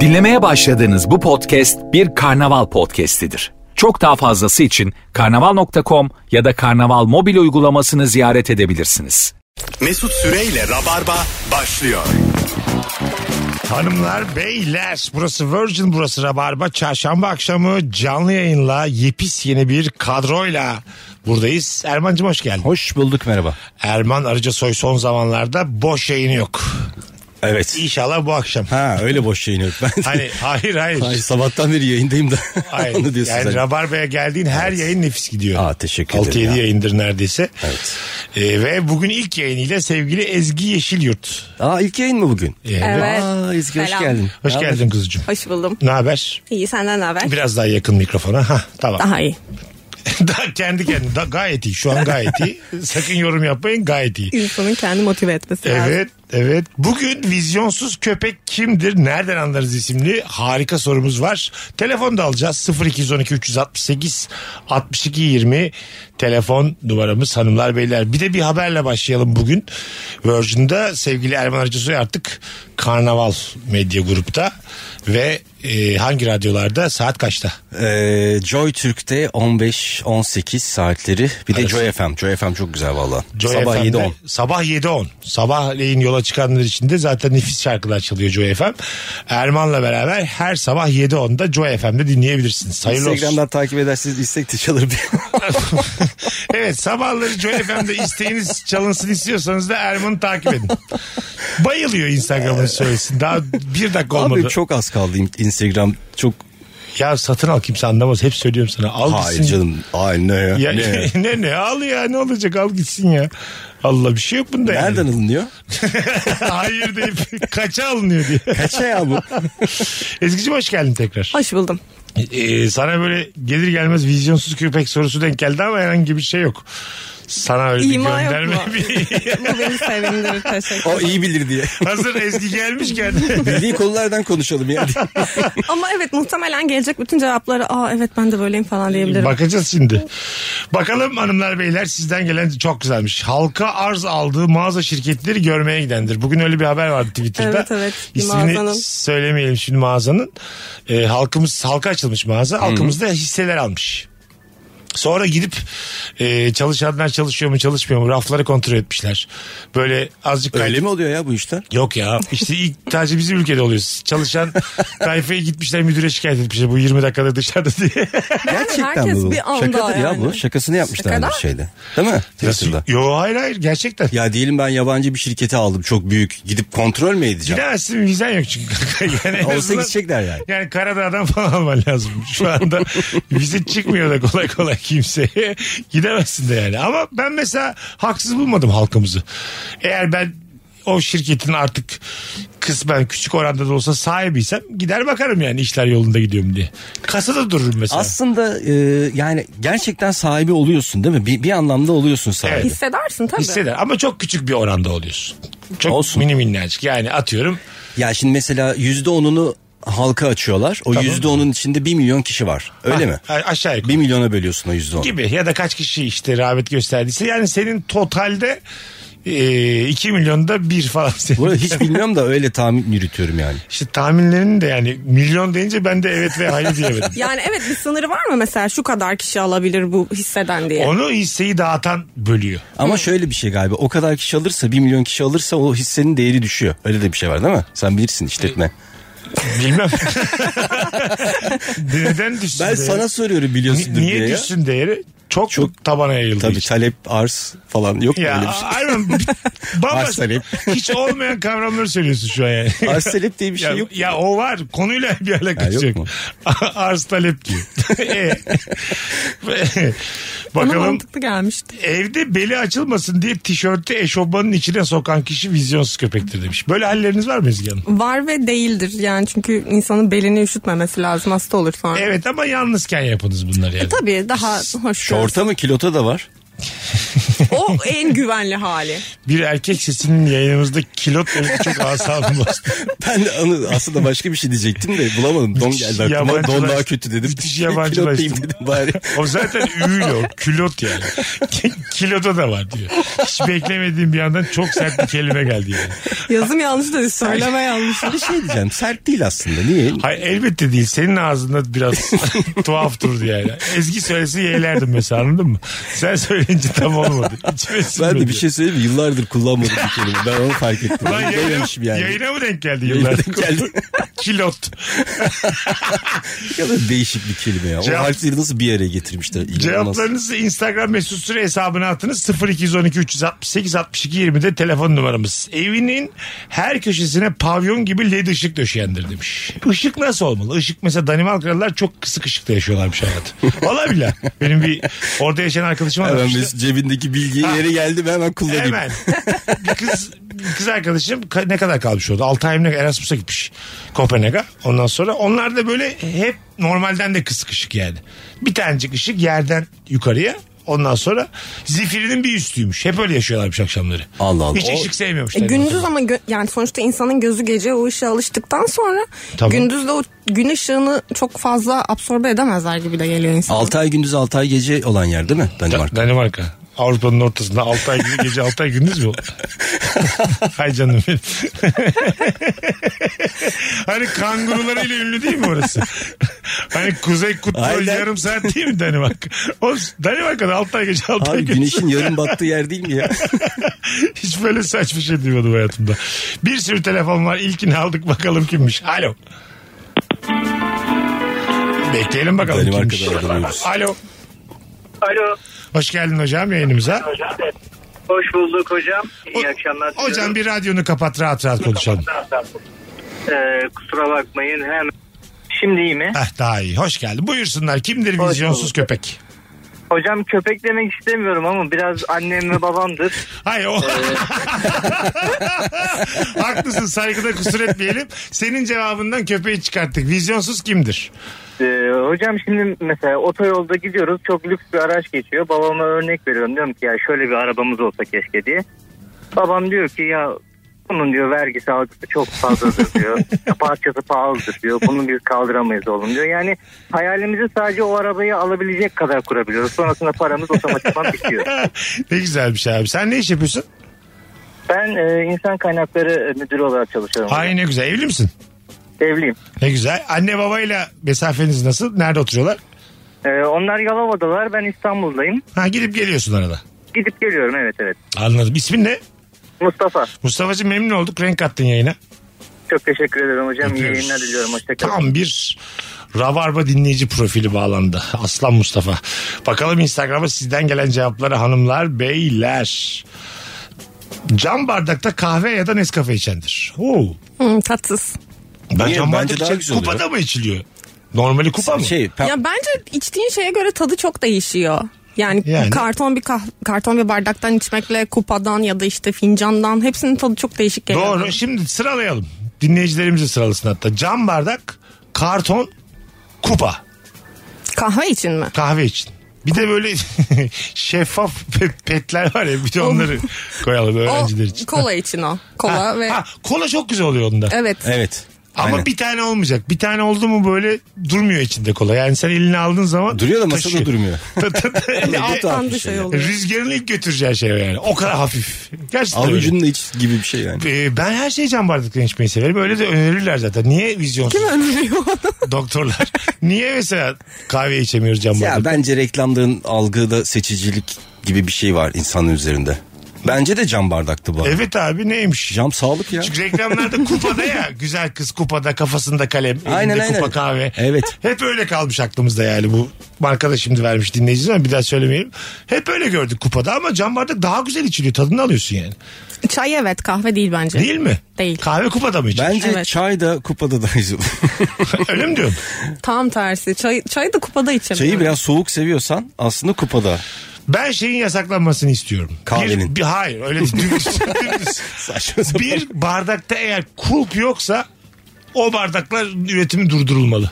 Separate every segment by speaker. Speaker 1: Dinlemeye başladığınız bu podcast bir karnaval podcastidir. Çok daha fazlası için karnaval.com ya da karnaval mobil uygulamasını ziyaret edebilirsiniz.
Speaker 2: Mesut Süreyle Rabarba başlıyor.
Speaker 3: Hanımlar, beyler burası Virgin, burası Rabarba. Çarşamba akşamı canlı yayınla yepis yeni bir kadroyla buradayız. Erman'cığım hoş geldin.
Speaker 4: Hoş bulduk merhaba.
Speaker 3: Erman Arıca Soy son zamanlarda boş yayını yok.
Speaker 4: Evet.
Speaker 3: İnşallah bu akşam.
Speaker 4: Ha öyle boş yayın yok. Ben
Speaker 3: Hani hayır
Speaker 4: Ay,
Speaker 3: hayır.
Speaker 4: sabahtan beri yayındayım da.
Speaker 3: hayır.
Speaker 4: Onu diyorsun
Speaker 3: yani
Speaker 4: sen.
Speaker 3: Rabarba'ya geldiğin her yayın nefis gidiyor.
Speaker 4: Aa, teşekkür ederim
Speaker 3: 6-7
Speaker 4: ya.
Speaker 3: yayındır neredeyse.
Speaker 4: Evet.
Speaker 3: Ee, ve bugün ilk yayınıyla sevgili Ezgi Yeşilyurt.
Speaker 4: Aa ilk yayın mı bugün?
Speaker 3: Evet.
Speaker 5: Evet.
Speaker 4: Aa Ezgi hoş
Speaker 5: Selam.
Speaker 4: geldin.
Speaker 3: Hoş
Speaker 4: Ne
Speaker 3: geldin kuzucuğum.
Speaker 5: Hoş buldum.
Speaker 3: Ne haber?
Speaker 5: İyi senden ne haber?
Speaker 3: Biraz daha yakın mikrofona. Ha tamam.
Speaker 5: Daha iyi.
Speaker 3: Daha kendi kendine da gayet iyi şu an gayet iyi. Sakın yorum yapmayın gayet iyi.
Speaker 5: İnsanın kendi motive etmesi lazım.
Speaker 3: Evet evet. Bugün vizyonsuz köpek kimdir? Nereden anlarız isimli harika sorumuz var. Telefon da alacağız. 0212 368 62 20 telefon numaramız hanımlar beyler. Bir de bir haberle başlayalım bugün. Virgin'da sevgili Erman Arıcısoy artık Karnaval Medya Grup'ta ve e, hangi radyolarda saat kaçta?
Speaker 4: Ee, Joy Türk'te 15-18 saatleri. Bir de Joy FM. Joy FM çok güzel valla.
Speaker 3: Joy
Speaker 4: Sabah
Speaker 3: FM'de
Speaker 4: 7-10.
Speaker 3: Sabah 7.10. Sabahleyin yola çıkanlar için de zaten nefis şarkılar çalıyor Joy FM. Erman'la beraber her sabah 7.10'da Joy FM'de dinleyebilirsiniz. Hayırlı olsun.
Speaker 4: Instagram'dan takip edersiniz istek de çalır diye.
Speaker 3: evet sabahları Joy FM'de isteğiniz çalınsın istiyorsanız da Erman'ı takip edin. Bayılıyor Instagram'ın söylesin. Daha bir dakika olmadı.
Speaker 4: Ee, Abi çok az kaldı Instagram. Çok
Speaker 3: Ya satın al kimse anlamaz. Hep söylüyorum sana. Al
Speaker 4: hayır
Speaker 3: gitsin.
Speaker 4: canım. Ay ne ya.
Speaker 3: Ya,
Speaker 4: ne ya?
Speaker 3: ne? ne al ya ne olacak al gitsin ya. Allah bir şey yok bunda yani.
Speaker 4: Nereden alınıyor?
Speaker 3: Hayır deyip kaça alınıyor diye.
Speaker 4: Kaça ya bu?
Speaker 3: Ezgi'cim hoş geldin tekrar.
Speaker 5: Hoş buldum.
Speaker 3: Ee, sana böyle gelir gelmez vizyonsuz köpek sorusu denk geldi ama herhangi bir şey yok. Sana öyle bir
Speaker 5: İma yok
Speaker 3: gönderme.
Speaker 5: mu?
Speaker 3: bir-
Speaker 5: Bu beni sevindirir. Teşekkür
Speaker 4: O
Speaker 5: ederim.
Speaker 4: iyi bilir diye.
Speaker 3: Hazır Ezgi gelmişken.
Speaker 4: Bildiği konulardan konuşalım yani.
Speaker 5: Ama evet muhtemelen gelecek bütün cevapları aa evet ben de böyleyim falan diyebilirim.
Speaker 3: Bakacağız şimdi. Bakalım hanımlar beyler sizden gelen çok güzelmiş. Halka arz aldığı mağaza şirketleri görmeye gidendir. Bugün öyle bir haber vardı Twitter'da.
Speaker 5: Evet, evet. Bir
Speaker 3: İsmini
Speaker 5: mağazanın.
Speaker 3: söylemeyelim şimdi mağazanın. Ee, halkımız halka açılmış mağaza. Halkımız da hisseler almış. Sonra gidip e, çalışanlar çalışıyor mu çalışmıyor mu rafları kontrol etmişler. Böyle azıcık kay-
Speaker 4: Öyle mi oluyor ya bu işler?
Speaker 3: Yok ya işte ilk sadece bizim ülkede oluyoruz. Çalışan tayfaya gitmişler müdüre şikayet etmişler bu 20 dakikada dışarıda diye.
Speaker 4: Gerçekten
Speaker 5: herkes
Speaker 4: mi bu.
Speaker 5: bir anda
Speaker 4: Şakadır ya
Speaker 5: yani.
Speaker 4: bu. Şakasını yapmışlar
Speaker 5: Şakada.
Speaker 4: bir şeyde. Değil mi? Twitter'da.
Speaker 3: Yo hayır hayır gerçekten.
Speaker 4: Ya diyelim ben yabancı bir şirkete aldım çok büyük. Gidip kontrol mü edeceğim?
Speaker 3: Gidemezsin vizen yok çünkü. yani en
Speaker 4: Olsa
Speaker 3: azından-
Speaker 4: gidecekler yani.
Speaker 3: Yani Karadağ'dan falan alman lazım. Şu anda vize çıkmıyor da kolay kolay kimseye. Gidemezsin de yani. Ama ben mesela haksız bulmadım halkımızı. Eğer ben o şirketin artık kısmen küçük oranda da olsa sahibiysem gider bakarım yani işler yolunda gidiyor mu diye. Kasada dururum mesela.
Speaker 4: Aslında e, yani gerçekten sahibi oluyorsun değil mi? Bir, bir anlamda oluyorsun sahibi.
Speaker 3: Evet.
Speaker 5: Hissedersin tabii.
Speaker 3: Hisseder ama çok küçük bir oranda oluyorsun. Çok
Speaker 4: Olsun.
Speaker 3: mini minnacık yani atıyorum
Speaker 4: Ya şimdi mesela yüzde onunu halka açıyorlar. O yüzde onun içinde bir milyon kişi var. Öyle mi?
Speaker 3: Ah, a- aşağı yukarı.
Speaker 4: Bir milyona bölüyorsun o yüzde onu.
Speaker 3: gibi ya da kaç kişi işte rağbet gösterdiyse yani senin totalde e, 2 milyonda bir falan
Speaker 4: Bu
Speaker 3: senin.
Speaker 4: arada hiç bilmiyorum da öyle tahmin yürütüyorum yani.
Speaker 3: İşte tahminlerin de yani milyon deyince ben de evet ve hayır diyemedim.
Speaker 5: Yani evet bir sınırı var mı mesela şu kadar kişi alabilir bu hisseden diye.
Speaker 3: Onu hisseyi dağıtan bölüyor.
Speaker 4: Ama şöyle bir şey galiba o kadar kişi alırsa bir milyon kişi alırsa o hissenin değeri düşüyor. Öyle de bir şey var değil mi? Sen bilirsin işletme.
Speaker 3: Bilmem. Neden düşsün değeri?
Speaker 4: Ben sana soruyorum biliyorsun
Speaker 3: Ni-
Speaker 4: diye.
Speaker 3: Niye
Speaker 4: ya.
Speaker 3: düşsün değeri? Çok, tabana yayıldı.
Speaker 4: Tabii talep, arz falan yok mu öyle bir
Speaker 3: Ya
Speaker 4: şey.
Speaker 3: aynen. Bamba,
Speaker 4: Arz talep.
Speaker 3: hiç olmayan kavramları söylüyorsun şu an yani.
Speaker 4: Arz talep diye bir şey
Speaker 3: ya,
Speaker 4: yok.
Speaker 3: ya o var. Konuyla bir alakası
Speaker 4: Ha,
Speaker 3: yok.
Speaker 4: yok mu?
Speaker 3: Arz talep diyor. E.
Speaker 5: Bana
Speaker 3: Bakalım
Speaker 5: mantıklı gelmişti.
Speaker 3: evde beli açılmasın diye tişörtü eşofmanın içine sokan kişi vizyonsuz köpektir demiş. Böyle halleriniz var mı Ezgi Hanım?
Speaker 5: Var ve değildir yani çünkü insanın belini üşütmemesi lazım hasta olur sonra.
Speaker 4: E,
Speaker 3: Evet ama yalnızken yapınız bunları yani.
Speaker 5: Tabii daha hoş.
Speaker 4: Şorta mı kilota da var.
Speaker 5: O en güvenli hali.
Speaker 3: Bir erkek sesinin yayınımızda kilot demesi çok asabım bastı.
Speaker 4: Ben de anı- aslında başka bir şey diyecektim de bulamadım. Don geldi aklıma. Don daha kötü dedim.
Speaker 3: Müthiş yabancılaştım.
Speaker 4: Pilot değil dedim bari.
Speaker 3: O zaten üğüyle o. Külot yani. Kiloda da var diyor. Hiç beklemediğim bir yandan çok sert bir kelime geldi yani.
Speaker 5: Yazım yanlış da söyleme yanlış.
Speaker 4: Bir şey diyeceğim. Sert değil aslında. Niye?
Speaker 3: Hayır elbette değil. Senin ağzında biraz tuhaf durdu yani. Ezgi söylese yeğlerdim mesela anladın mı? Sen söyleyince tam olmadı. İçime
Speaker 4: Ben de
Speaker 3: sinmedi.
Speaker 4: bir şey söyleyeyim mi? Yıllardır kullanmadım bir kelime. Ben onu fark ettim.
Speaker 3: Lan
Speaker 4: Ben
Speaker 3: yayına,
Speaker 4: Dememişim yani.
Speaker 3: yayına mı denk geldi
Speaker 4: Yayına
Speaker 3: yıllar?
Speaker 4: denk geldi.
Speaker 3: Kilot.
Speaker 4: Ne kadar değişik bir kelime ya.
Speaker 3: Cevap-
Speaker 4: o harfleri nasıl bir araya getirmişler? İnanılmaz.
Speaker 3: Cevaplarınızı Instagram mesut süre hesabına atınız. 0212 368 62 20'de telefon numaramız. Evinin her köşesine pavyon gibi led ışık döşeyendir demiş. Işık nasıl olmalı? Işık mesela Danimarkalılar çok kısık ışıkta yaşıyorlarmış hayatı. Valla bile. Benim bir orada yaşayan arkadaşım
Speaker 4: Hemen
Speaker 3: anlatmıştı.
Speaker 4: Mesut cebindeki bilgiye yere geldi ben hemen kullanayım.
Speaker 3: Hemen. bir kız bir kız arkadaşım ka- ne kadar kalmış orada? 6 ay mı ne- Erasmus'a gitmiş. Kopenhag'a. Ondan sonra onlar da böyle hep normalden de kısık ışık yani. Bir tanecik ışık yerden yukarıya. Ondan sonra zifirinin bir üstüymüş. Hep öyle yaşıyorlarmış akşamları.
Speaker 4: Allah Allah.
Speaker 3: Hiç
Speaker 4: O-
Speaker 3: ışık sevmiyormuş.
Speaker 5: E, gündüz ama gö- yani sonuçta insanın gözü gece o ışığa alıştıktan sonra
Speaker 3: Tamam.
Speaker 5: gündüz de o gün ışığını çok fazla absorbe edemezler gibi de geliyor insan.
Speaker 4: 6 ay gündüz 6 ay gece olan yer değil mi Danimarka?
Speaker 3: Danimarka. Avrupa'nın ortasında 6 ay gündüz gece 6 ay gündüz mü? Hay canım benim. hani kangurularıyla ünlü değil mi orası? hani Kuzey Kutbu
Speaker 4: Aynen.
Speaker 3: yarım saat değil mi Danimarka? Oğlum Danimarka'da 6 ay gece 6 ay
Speaker 4: Abi
Speaker 3: gündüz.
Speaker 4: güneşin yarım battığı yer değil mi ya?
Speaker 3: Hiç böyle saçma şey duymadım hayatımda. Bir sürü telefon var. İlkini aldık bakalım kimmiş. Alo. Bekleyelim bakalım kimmiş.
Speaker 4: Danimarka'da aranıyoruz.
Speaker 3: Alo.
Speaker 6: Alo.
Speaker 3: Hoş geldin hocam yayınımıza.
Speaker 6: Hoş bulduk hocam. İyi akşamlar.
Speaker 3: Hocam bir radyonu kapat rahat rahat konuşalım.
Speaker 6: Ee, kusura bakmayın hemen. Şimdi iyi mi?
Speaker 3: Heh, daha iyi. Hoş geldin. Buyursunlar. Kimdir
Speaker 6: Hoş
Speaker 3: vizyonsuz
Speaker 6: bulduk.
Speaker 3: köpek?
Speaker 6: Hocam köpek demek istemiyorum ama biraz annem ve babamdır.
Speaker 3: Hayır o.
Speaker 6: Ee,
Speaker 3: Haklısın saygıda kusur etmeyelim. Senin cevabından köpeği çıkarttık. Vizyonsuz kimdir?
Speaker 6: Ee, hocam şimdi mesela otoyolda gidiyoruz. Çok lüks bir araç geçiyor. Babama örnek veriyorum. Diyorum ki ya şöyle bir arabamız olsa keşke diye. Babam diyor ki ya bunun diyor vergisi algısı çok fazladır diyor. Parçası pahalıdır diyor. Bunu biz kaldıramayız oğlum diyor. Yani hayalimizi sadece o arabayı alabilecek kadar kurabiliyoruz. Sonrasında paramız otomatikman bitiyor.
Speaker 3: ne güzel bir şey abi. Sen ne iş yapıyorsun?
Speaker 6: Ben e, insan kaynakları e, müdürü olarak çalışıyorum.
Speaker 3: Ay ne güzel. Evli misin?
Speaker 6: Evliyim.
Speaker 3: Ne güzel. Anne babayla mesafeniz nasıl? Nerede oturuyorlar?
Speaker 6: E, onlar Yalova'dalar. Ben İstanbul'dayım.
Speaker 3: Ha gidip geliyorsun arada.
Speaker 6: Gidip geliyorum evet evet.
Speaker 3: Anladım. İsmin ne?
Speaker 6: Mustafa
Speaker 3: Mustafa'cığım memnun olduk. Renk kattın yayına.
Speaker 6: çok teşekkür ederim hocam. İyi
Speaker 3: Öpüyoruz.
Speaker 6: yayınlar diliyorum. Hoşçakalın.
Speaker 3: Tam bir Rabarba dinleyici profili bağlandı. Aslan Mustafa. Bakalım Instagram'a sizden gelen cevapları hanımlar, beyler. Cam bardakta kahve ya da Nescafe içendir. Oo.
Speaker 5: Hı, tatsız.
Speaker 3: Ben
Speaker 4: Niye?
Speaker 3: cam
Speaker 4: Bence
Speaker 3: bardak
Speaker 4: daha
Speaker 3: içen-
Speaker 4: güzel oluyor.
Speaker 3: kupada mı içiliyor? Normali kupa mı?
Speaker 4: Şey, pe-
Speaker 5: Ya bence içtiğin şeye göre tadı çok değişiyor. Yani,
Speaker 3: Yani.
Speaker 5: karton bir kah- karton bir bardaktan içmekle kupadan ya da işte fincandan hepsinin tadı çok değişik geliyor.
Speaker 3: Doğru. Şimdi sıralayalım. Dinleyicilerimizi sıralasın hatta. Cam bardak, karton, kupa.
Speaker 5: Kahve için mi?
Speaker 3: Kahve için. Bir de böyle şeffaf pe- petler var ya bir de onları koyalım öğrenciler için.
Speaker 5: O kola için o. Kola
Speaker 3: Ha,
Speaker 5: ve
Speaker 3: ha, E, kola çok güzel oluyor onda.
Speaker 5: evet.
Speaker 4: evet.
Speaker 3: Ama
Speaker 4: Aynen.
Speaker 3: bir tane olmayacak. Bir tane oldu mu böyle durmuyor içinde kola. Yani sen elini aldığın zaman
Speaker 4: Duruyor da masada durmuyor.
Speaker 3: Ta- ta- ta- Ay,
Speaker 4: tuhaf
Speaker 5: Tam
Speaker 4: bir
Speaker 5: da
Speaker 4: şey
Speaker 5: şey
Speaker 4: ya.
Speaker 5: oluyor.
Speaker 3: Rüzgarın ilk götüreceği şey o yani. O kadar hafif. Gerçekten öyle.
Speaker 4: Avucunun iç gibi bir şey yani.
Speaker 3: Ee, ben her şeyi cam bardakla içmeyi severim. Öyle de önerirler zaten. Niye vizyonsuz doktorlar? Niye mesela kahve içemiyoruz cam
Speaker 4: Ya
Speaker 3: bardakla?
Speaker 4: bence reklamların algıda seçicilik gibi bir şey var insanın üzerinde. Bence de cam bardaktı bu. arada.
Speaker 3: Evet abi neymiş?
Speaker 4: Cam sağlık ya.
Speaker 3: Çünkü reklamlarda kupada ya güzel kız kupada kafasında kalem elinde
Speaker 4: Aynen,
Speaker 3: kupa
Speaker 4: aynen.
Speaker 3: kahve.
Speaker 4: Evet.
Speaker 3: Hep öyle kalmış aklımızda yani bu marka da şimdi vermiş dinleyicimiz ama bir daha söylemeyelim. Hep öyle gördük kupada ama cam bardak daha güzel içiliyor tadını alıyorsun yani.
Speaker 5: Çay evet kahve değil bence.
Speaker 3: Değil mi?
Speaker 5: Değil.
Speaker 3: Kahve kupada mı içiyorsun?
Speaker 4: Bence
Speaker 5: Evet.
Speaker 4: çay da kupada da güzel.
Speaker 3: öyle mi diyorsun?
Speaker 5: Tam tersi. Çay, çayı da kupada içelim.
Speaker 4: Çayı biraz soğuk seviyorsan aslında kupada.
Speaker 3: Ben şeyin yasaklanmasını istiyorum.
Speaker 4: Kahvenin.
Speaker 3: Bir, bir- hayır öyle değil. Dümdüz, dümdüz.
Speaker 4: Saçma sapan.
Speaker 3: bir bardakta eğer kulp yoksa o bardaklar üretimi durdurulmalı.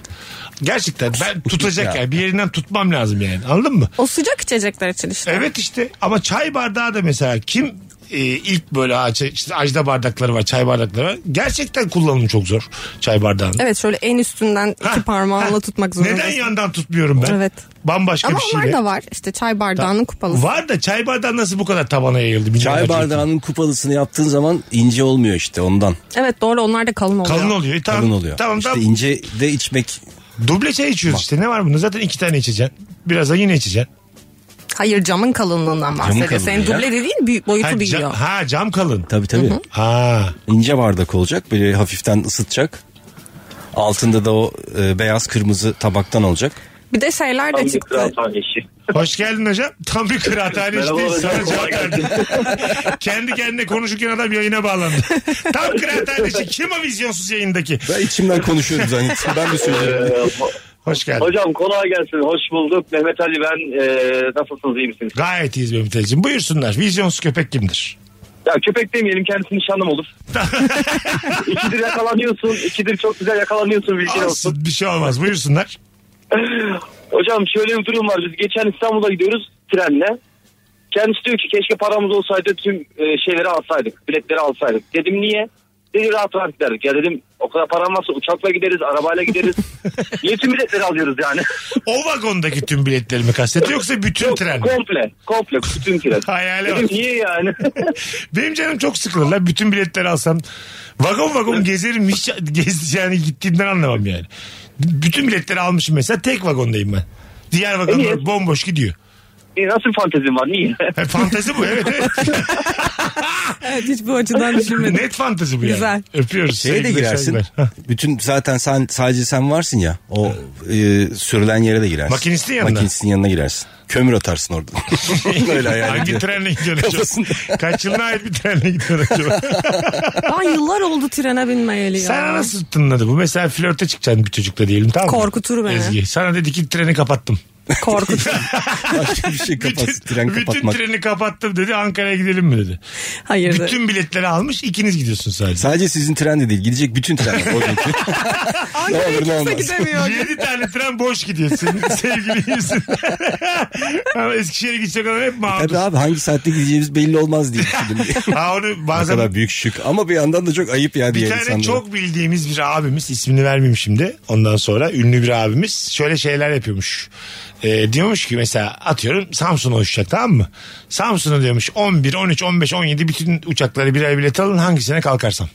Speaker 3: Gerçekten ben tutacak yani. Bir yerinden tutmam lazım yani. Anladın mı?
Speaker 5: O sıcak içecekler için işte.
Speaker 3: Evet işte ama çay bardağı da mesela kim e, ilk böyle ha, çay- işte ajda bardakları var, çay bardakları var. Gerçekten kullanımı çok zor çay bardağının.
Speaker 5: Evet şöyle en üstünden
Speaker 3: Ha,
Speaker 5: iki parmağınla
Speaker 3: ha.
Speaker 5: tutmak zorundasın.
Speaker 3: Neden yandan tutmuyorum ben?
Speaker 5: Evet.
Speaker 3: Bambaşka
Speaker 5: Ama
Speaker 4: şey
Speaker 3: bir şeyle.
Speaker 5: onlar da var. İşte çay bardağının kupalısı.
Speaker 3: Var da çay bardağı nasıl bu kadar tabana yayıldı? bilmiyorum
Speaker 4: Çay
Speaker 3: gerçekten.
Speaker 4: bardağının kupalısını yaptığın zaman ince olmuyor işte ondan.
Speaker 5: Evet doğru onlar da kalın oluyor.
Speaker 3: Kalın oluyor. E, tamam,
Speaker 4: Kalın oluyor.
Speaker 3: Tamam,
Speaker 4: işte
Speaker 3: tamam.
Speaker 4: ince de içmek
Speaker 3: Duble çay içiyoruz işte. Ne var bunda? Zaten iki tane içeceksin. Birazdan yine içeceksin.
Speaker 5: Hayır camın kalınlığından bahsediyor.
Speaker 4: kalınlığı
Speaker 5: Senin
Speaker 4: ya.
Speaker 5: duble dediğin büyük boyutu
Speaker 3: Ha,
Speaker 5: büyüyor.
Speaker 3: cam, ha cam kalın.
Speaker 4: tabii tabii.
Speaker 3: Ha.
Speaker 4: İnce bardak olacak böyle hafiften ısıtacak. Altında da o e, beyaz kırmızı tabaktan olacak.
Speaker 5: Bir de şeyler de çıktı.
Speaker 3: Hoş geldin hocam. Tam bir kıraathane
Speaker 7: Merhaba
Speaker 3: işte.
Speaker 7: hocam,
Speaker 3: Sana
Speaker 7: kolay
Speaker 3: cevap verdim. Kendi kendine konuşurken adam yayına bağlandı. Tam kıraathane işi. Kim o vizyonsuz yayındaki?
Speaker 4: Ben içimden konuşuyorum zannettim. Ben bir söyleyeyim.
Speaker 3: Hoş geldin.
Speaker 7: Hocam kolay gelsin. Hoş bulduk. Mehmet Ali ben. Ee, nasılsınız iyi misiniz?
Speaker 3: Gayet iyiyiz Mehmet Ali'cim. Buyursunlar. Vizyonsuz köpek kimdir?
Speaker 7: Ya köpek demeyelim kendisi nişanlım olur. ikidir yakalanıyorsun. ikidir çok güzel yakalanıyorsun bilgin olsun.
Speaker 3: Olsun bir şey olmaz. Buyursunlar.
Speaker 7: Hocam şöyle bir durum var. Biz geçen İstanbul'a gidiyoruz trenle. Kendisi diyor ki keşke paramız olsaydı tüm e, şeyleri alsaydık. Biletleri alsaydık. Dedim niye? Dedi rahat rahat giderdik. Ya dedim o kadar param varsa uçakla gideriz, arabayla gideriz. niye tüm biletleri alıyoruz yani?
Speaker 3: O vagondaki tüm biletlerimi kastediyor yoksa bütün
Speaker 7: Yok,
Speaker 3: tren mi?
Speaker 7: komple. Komple bütün tren.
Speaker 3: Hayale
Speaker 7: Dedim
Speaker 3: bak.
Speaker 7: niye yani?
Speaker 3: Benim canım çok sıkılır lan. Bütün biletleri alsam vagon vagon gezerim. Hiç gez, yani gittiğimden anlamam yani. B- Bütün biletleri almışım mesela. Tek vagondayım ben. Diğer vagonlar
Speaker 7: Evet.
Speaker 3: bomboş gidiyor.
Speaker 7: E,
Speaker 3: Ee,
Speaker 7: nasıl fantezim var niye?
Speaker 3: Ha, E, fantezi bu evet. evet.
Speaker 5: Evet hiç bu açıdan düşünmedim.
Speaker 3: Net fantezi bu yani.
Speaker 5: Güzel.
Speaker 3: Öpüyoruz.
Speaker 4: Şeye de
Speaker 3: sevgiler,
Speaker 4: girersin.
Speaker 3: saygılar. Hah.
Speaker 4: Bütün zaten sen sadece sen varsın ya. O e, sürülen yere de girersin.
Speaker 3: Makinistin yanına.
Speaker 4: Makinistin yanına girersin. Kömür atarsın orada. Öyle hayal
Speaker 3: Hangi
Speaker 4: ediyorum.
Speaker 3: trenle gidiyorsun acaba? Kaç yılına ait bir trenle gidiyorsun acaba?
Speaker 5: Ben yıllar oldu trene binmeyeli ya.
Speaker 3: Sana nasıl tınladı bu? Mesela flörte çıkacaksın bir çocukla diyelim tamam mı?
Speaker 5: Korkutur beni.
Speaker 3: Ezgi. Sana dedi ki treni kapattım.
Speaker 5: Korkutur.
Speaker 4: Başka bir şey kapat. Tren
Speaker 3: bütün
Speaker 4: kapatmak.
Speaker 3: treni kapattım dedi Ankara'ya gidelim mi dedi.
Speaker 5: Hayır. de.
Speaker 3: Bütün biletleri almış ikiniz gidiyorsun sadece.
Speaker 4: Sadece sizin tren de değil. Gidecek bütün trenler. o günkü. ne olur ne
Speaker 5: Kimse
Speaker 4: olmaz.
Speaker 5: gidemiyor.
Speaker 3: 7 tane tren boş gidiyorsun sevgili yüzün. Ama Eskişehir'e gidecek olan
Speaker 4: E,
Speaker 3: hep mağdur.
Speaker 4: Tabii abi hangi saatte gideceğimiz belli olmaz diye düşündüm.
Speaker 3: Ha onu
Speaker 4: Ne kadar
Speaker 3: bazen
Speaker 4: büyük şık ama bir yandan da çok ayıp ya
Speaker 3: bir
Speaker 4: diğer
Speaker 3: tane
Speaker 4: insanlara.
Speaker 3: çok bildiğimiz bir abimiz ismini vermeyeyim şimdi ondan sonra ünlü bir abimiz şöyle şeyler yapıyormuş. Ee, diyormuş ki mesela atıyorum Samsun'a uçacak tamam mı? Samsun'a diyormuş 11, 13, 15, 17 bütün uçakları birer bilet alın hangisine kalkarsam.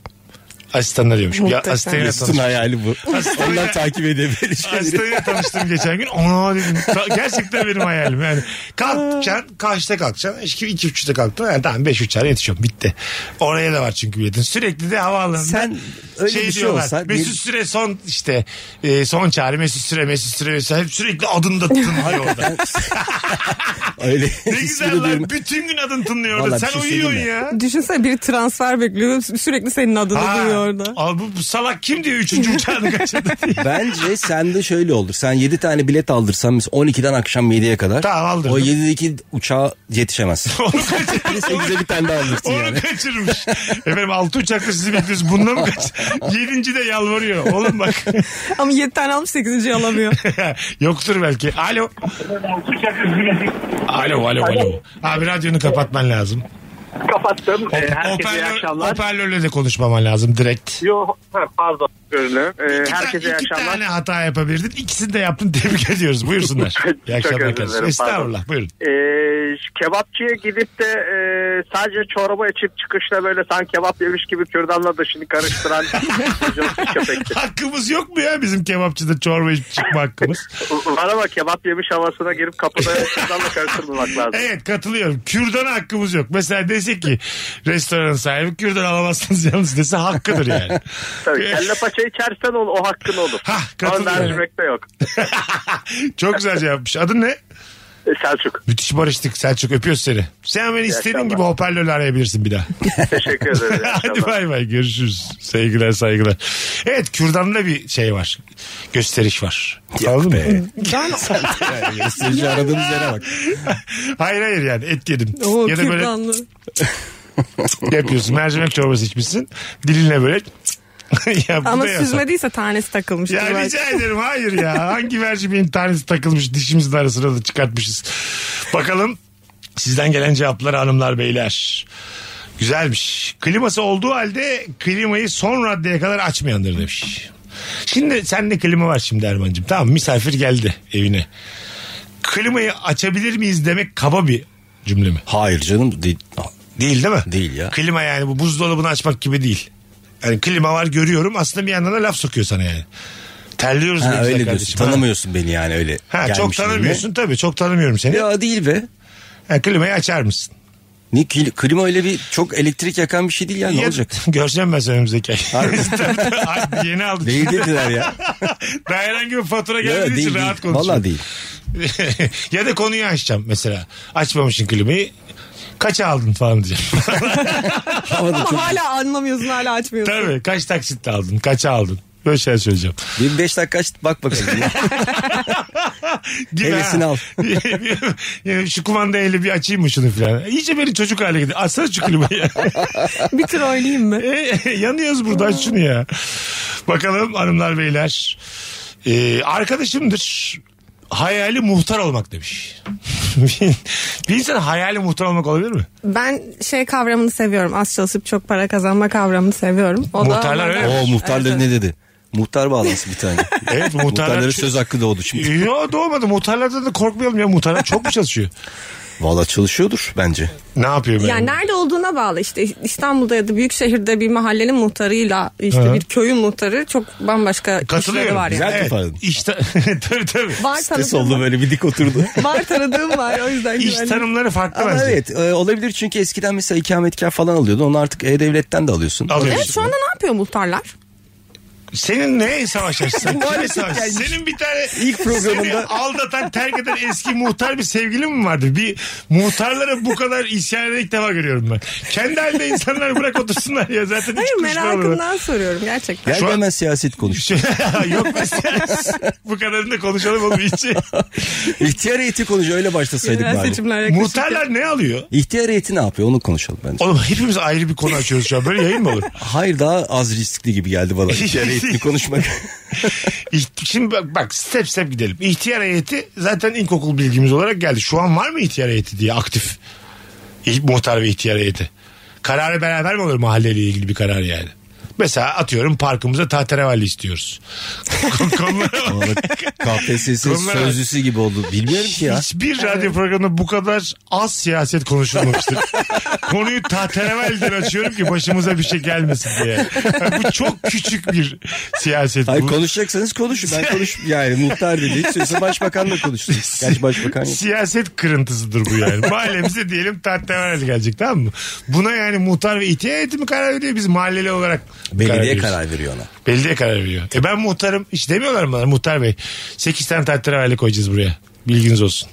Speaker 3: Asistanına diyormuş. Ya,
Speaker 5: Muhteşem.
Speaker 3: asistanına
Speaker 4: Mesut'un
Speaker 3: tanışmış.
Speaker 4: hayali bu.
Speaker 3: Aslında-
Speaker 4: Onlar takip edebilir.
Speaker 3: Hastayla tanıştım geçen gün. Ona dedim. Ta- Gerçekten benim hayalim yani. Kalkacaksın. Kaçta kalkacaksın? İki, iki buçukta kalktın. Yani tamam beş uçağa yetişiyorum. Bitti. Oraya da var çünkü biletin. Sürekli de havaalanında.
Speaker 4: Sen öyle bir şey olsa bir-
Speaker 3: Mesut Süre son işte e, son çağrı Mesut Süre Mesut Süre Mesut Süre. Hep sürekli adın da tınlıyor orada.
Speaker 4: Öyle.
Speaker 3: ne güzel lan.
Speaker 4: lan.
Speaker 3: Bütün gün adın tınlıyor orada.
Speaker 4: Vallahi bir
Speaker 3: Sen
Speaker 4: şey
Speaker 3: uyuyorsun
Speaker 4: söyleyeyim
Speaker 3: ya.
Speaker 5: Düşünsene biri transfer bekliyor. sü- Sürekli senin adını
Speaker 3: Ha,
Speaker 5: duyuyor orada.
Speaker 3: al bu, bu salak kim diyor üçüncü uçağını kaçırdı diye.
Speaker 4: Bence sende şöyle olur. Sen 7 tane bilet aldırsan mesela 12'den akşam 7'ye kadar.
Speaker 3: Tamam, aldırdım.
Speaker 4: O 7'deki uçağa yetişemezsin.
Speaker 3: Onu kaçırdı.
Speaker 4: Bir de 8'e bir tane daha alırsın
Speaker 3: Onu
Speaker 4: yani.
Speaker 3: kaçırmış. Efendim altı uçakta sizi bekliyoruz. Bunda mı kaç? Yedinci de yalvarıyor. Oğlum bak.
Speaker 5: Ama 7 tane almış 8. alamıyor.
Speaker 3: Yoktur belki. Alo. Alo alo alo. Abi radyonu kapatman lazım.
Speaker 7: Kapattım. Ee,
Speaker 6: E,
Speaker 7: herkese iyi
Speaker 3: Hoparlör-
Speaker 7: akşamlar.
Speaker 3: Hoparlörle de konuşmaman lazım direkt.
Speaker 7: Yo, ha, pardon. Görünüm.
Speaker 6: E,
Speaker 7: Ee,
Speaker 3: İki ta-
Speaker 7: herkese iyi
Speaker 3: iki
Speaker 7: akşamlar.
Speaker 3: tane hata yapabildin. İkisini de yaptın. Tebrik ediyoruz. Buyursunlar. İyi
Speaker 7: Çok
Speaker 3: akşamlar
Speaker 7: özür
Speaker 3: kardeşim.
Speaker 7: dilerim,
Speaker 3: Estağfurullah. Buyurun.
Speaker 7: Ee, şu kebapçıya gidip de e, sadece çorba içip çıkışta böyle sanki kebap yemiş gibi kürdanla dışını karıştıran vizyonsuz köpekti.
Speaker 3: Hakkımız yok mu ya bizim kebapçıda çorba içip çıkma hakkımız?
Speaker 7: Var ama kebap yemiş havasına girip kapıda kürdanla karıştırmamak lazım.
Speaker 3: Evet katılıyorum. Kürdana hakkımız yok. Mesela dese ki restoranın sahibi kürdan alamazsınız yalnız dese hakkıdır yani.
Speaker 7: Tabii, kelle paça içersen o, o hakkın olur.
Speaker 3: Hah,
Speaker 7: Ama
Speaker 3: katılıyorum.
Speaker 7: mercimekte yok.
Speaker 3: Çok güzel yapmış. Adın ne?
Speaker 7: Ee, Selçuk.
Speaker 3: Müthiş barıştık Selçuk öpüyoruz seni. Sen beni istediğin
Speaker 7: akşamlar.
Speaker 3: gibi hoparlörle arayabilirsin bir daha.
Speaker 7: Teşekkür ederim. İyi
Speaker 3: Hadi
Speaker 7: akşamlar.
Speaker 3: bay bay görüşürüz. Sevgiler saygılar. Evet kürdanda bir şey var. Gösteriş var. Anladın mı?
Speaker 4: Gösterici aradığımız yere bak.
Speaker 3: hayır hayır yani et yedim.
Speaker 5: Oo,
Speaker 3: ya da böyle
Speaker 5: kürdanlı.
Speaker 3: yapıyorsun mercimek çorbası içmişsin. Dilinle böyle ya bu
Speaker 5: Ama
Speaker 3: da yasak.
Speaker 5: süzmediyse tanesi takılmıştır.
Speaker 3: Ya
Speaker 5: belki.
Speaker 3: rica ederim hayır ya. Hangi mercimeğin tanesi takılmış dişimizin arasına da çıkartmışız. Bakalım sizden gelen cevaplar hanımlar beyler. Güzelmiş. Kliması olduğu halde klimayı son raddeye kadar açmayandır demiş. Şimdi sende klima var şimdi Erman'cığım. Tamam misafir geldi evine. Klimayı açabilir miyiz demek kaba bir cümle mi?
Speaker 4: Hayır canım değil.
Speaker 3: Değil değil mi?
Speaker 4: Değil ya.
Speaker 3: Klima yani bu buzdolabını açmak gibi değil. Yani klima var görüyorum aslında bir yandan da laf sokuyor sana yani. Terliyoruz
Speaker 4: Ha,
Speaker 3: ne güzel
Speaker 4: öyle diyorsun.
Speaker 3: kardeşim. ha.
Speaker 4: Tanımıyorsun beni yani öyle.
Speaker 3: Ha, çok
Speaker 4: gelmiş
Speaker 3: tanımıyorsun tabii çok tanımıyorum seni.
Speaker 4: elime. Ya değil be.
Speaker 3: Ha, klimayı açar mısın?
Speaker 4: Ne, kil- klima öyle bir çok elektrik yakan bir şey değil ya ne
Speaker 3: Ya-
Speaker 4: olacak?
Speaker 3: Göreceğim ben seni önümüzdeki ay. Tabii, tabii. Ay, Yeni aldık.
Speaker 4: Değil dediler ya.
Speaker 3: Daha herhangi bir fatura
Speaker 4: Ya,
Speaker 3: gelmediği
Speaker 4: değil,
Speaker 3: için
Speaker 4: değil.
Speaker 3: rahat konuşuyorum.
Speaker 4: Valla değil.
Speaker 3: ya da konuyu açacağım mesela. Açmamışsın klimayı. Kaça aldın falan diyeceğim.
Speaker 4: Ama da çok...
Speaker 5: Ama hala anlamıyorsun hala açmıyorsun.
Speaker 3: tabii kaç taksitle aldın kaça aldın. Böyle şeyler söyleyeceğim.
Speaker 4: Bir beş dakika aç bak bakalım. ya.
Speaker 3: Gibi
Speaker 4: Hevesini
Speaker 3: ha.
Speaker 4: al.
Speaker 3: Yani şu kumanda eli bir açayım mı şunu filan. İyice beni çocuk hale getirdi. Açsana şu klimayı.
Speaker 5: Bir tur oynayayım mı?
Speaker 3: E, Yanıyoruz burada aç şunu ya. Bakalım hanımlar beyler. Ee, arkadaşımdır. Hayali muhtar olmak demiş. bir bir insan hayali muhtar olmak olabilir mi?
Speaker 5: Ben şey kavramını seviyorum. Az çalışıp çok para kazanma kavramını seviyorum. O
Speaker 3: Muhtarlar öyle mi?
Speaker 4: Oo muhtarları
Speaker 5: Evet,
Speaker 4: ne dedi? Muhtar bağlantısı bir tane.
Speaker 3: Evet muhtarlar. E,
Speaker 4: Muhtarlara söz hakkı doğdu şimdi.
Speaker 3: Yo doğmadı. Muhtarlardan da korkmayalım ya. Muhtarlar çok mu çalışıyor?
Speaker 4: Valla çalışıyordur bence.
Speaker 3: ne yapıyor böyle?
Speaker 5: Yani nerede olduğuna bağlı işte İstanbul'da ya da büyük şehirde bir mahallenin muhtarıyla işte
Speaker 3: Hı.
Speaker 5: bir köyün muhtarı çok bambaşka işleri
Speaker 3: Katılıyorum.
Speaker 5: var yani.
Speaker 4: Güzel toparladın.
Speaker 3: İşte, tabii tabii.
Speaker 5: Var
Speaker 4: Stres
Speaker 5: tanıdığım
Speaker 4: oldu
Speaker 5: var.
Speaker 4: böyle bir dik oturdu.
Speaker 5: Var tanıdığım var o yüzden
Speaker 3: İş
Speaker 5: güvenli.
Speaker 3: tanımları farklı
Speaker 4: Ama
Speaker 3: bence.
Speaker 4: evet e, olabilir çünkü eskiden mesela ikametgah falan alıyordun. Onu artık E-Devlet'ten de alıyorsun.
Speaker 3: Alıyorsun.
Speaker 5: Evet şu anda ne yapıyor muhtarlar?
Speaker 3: Senin ne savaşarsın? Sen kimle
Speaker 4: Muhalefet
Speaker 3: savaşarsın?
Speaker 4: gelmiş.
Speaker 3: Senin bir tane
Speaker 4: İlk programında-
Speaker 3: seni aldatan terk eden eski muhtar bir sevgili mi vardı? Bir muhtarlara bu kadar isyan eden ilk defa görüyorum ben. Kendi halinde insanlar bırak otursunlar ya zaten hiç
Speaker 5: Hayır
Speaker 3: konuşma olur.
Speaker 5: merakımdan soruyorum gerçekten.
Speaker 4: Gel
Speaker 3: Şu an-
Speaker 4: hemen siyaset konuş.
Speaker 3: Şey, Yok mesela bu kadarını da konuşalım oğlum hiç.
Speaker 4: İhtiyar heyeti konuş öyle başlasaydık
Speaker 5: Yerel
Speaker 4: bari.
Speaker 5: seçimler yaklaşırken.
Speaker 3: Muhtarlar ne alıyor?
Speaker 4: İhtiyar heyeti ne yapıyor onu konuşalım bence.
Speaker 3: Oğlum hepimiz ayrı bir konu açıyoruz şu an. Böyle yayın mı olur?
Speaker 4: Hayır daha az riskli gibi geldi bana. İhtiyar heyetini konuşmak.
Speaker 3: İht- Şimdi bak, bak step step gidelim. İhtiyar heyeti zaten ilkokul bilgimiz olarak geldi. Şu an var mı ihtiyar heyeti diye aktif? İ- Muhtar ve ihtiyar heyeti. Kararı beraber mi olur mahalleyle ilgili bir karar yani? Mesela atıyorum parkımıza tahterevalli istiyoruz. Konulara bak.
Speaker 4: KPSS
Speaker 3: Konulara-
Speaker 4: sözlüsü gibi oldu. Bilmiyorum ki ya.
Speaker 3: Hiçbir radyo programında bu kadar az siyaset konuşulmamıştır. Konuyu tahterevalden açıyorum ki başımıza bir şey gelmesin diye. Yani bu çok küçük bir siyaset.
Speaker 4: Hayır
Speaker 3: bu.
Speaker 4: konuşacaksanız konuşun. Ben konuş yani muhtar dedi. Hiç sözü başbakanla konuştum. Gerçi başbakan yok.
Speaker 3: Siyaset kırıntısıdır bu yani. Mahallemize diyelim tahterevalli gelecek tamam mı? Buna yani muhtar ve itiye heyeti mi karar veriyor biz mahalleli olarak
Speaker 4: Belediye
Speaker 3: veriyoruz.
Speaker 4: karar veriyor ona.
Speaker 3: Belediye karar veriyor. E ben muhtarım hiç demiyorlar mı bana muhtar bey 8 tane tahterevalli koyacağız buraya. Bilginiz olsun.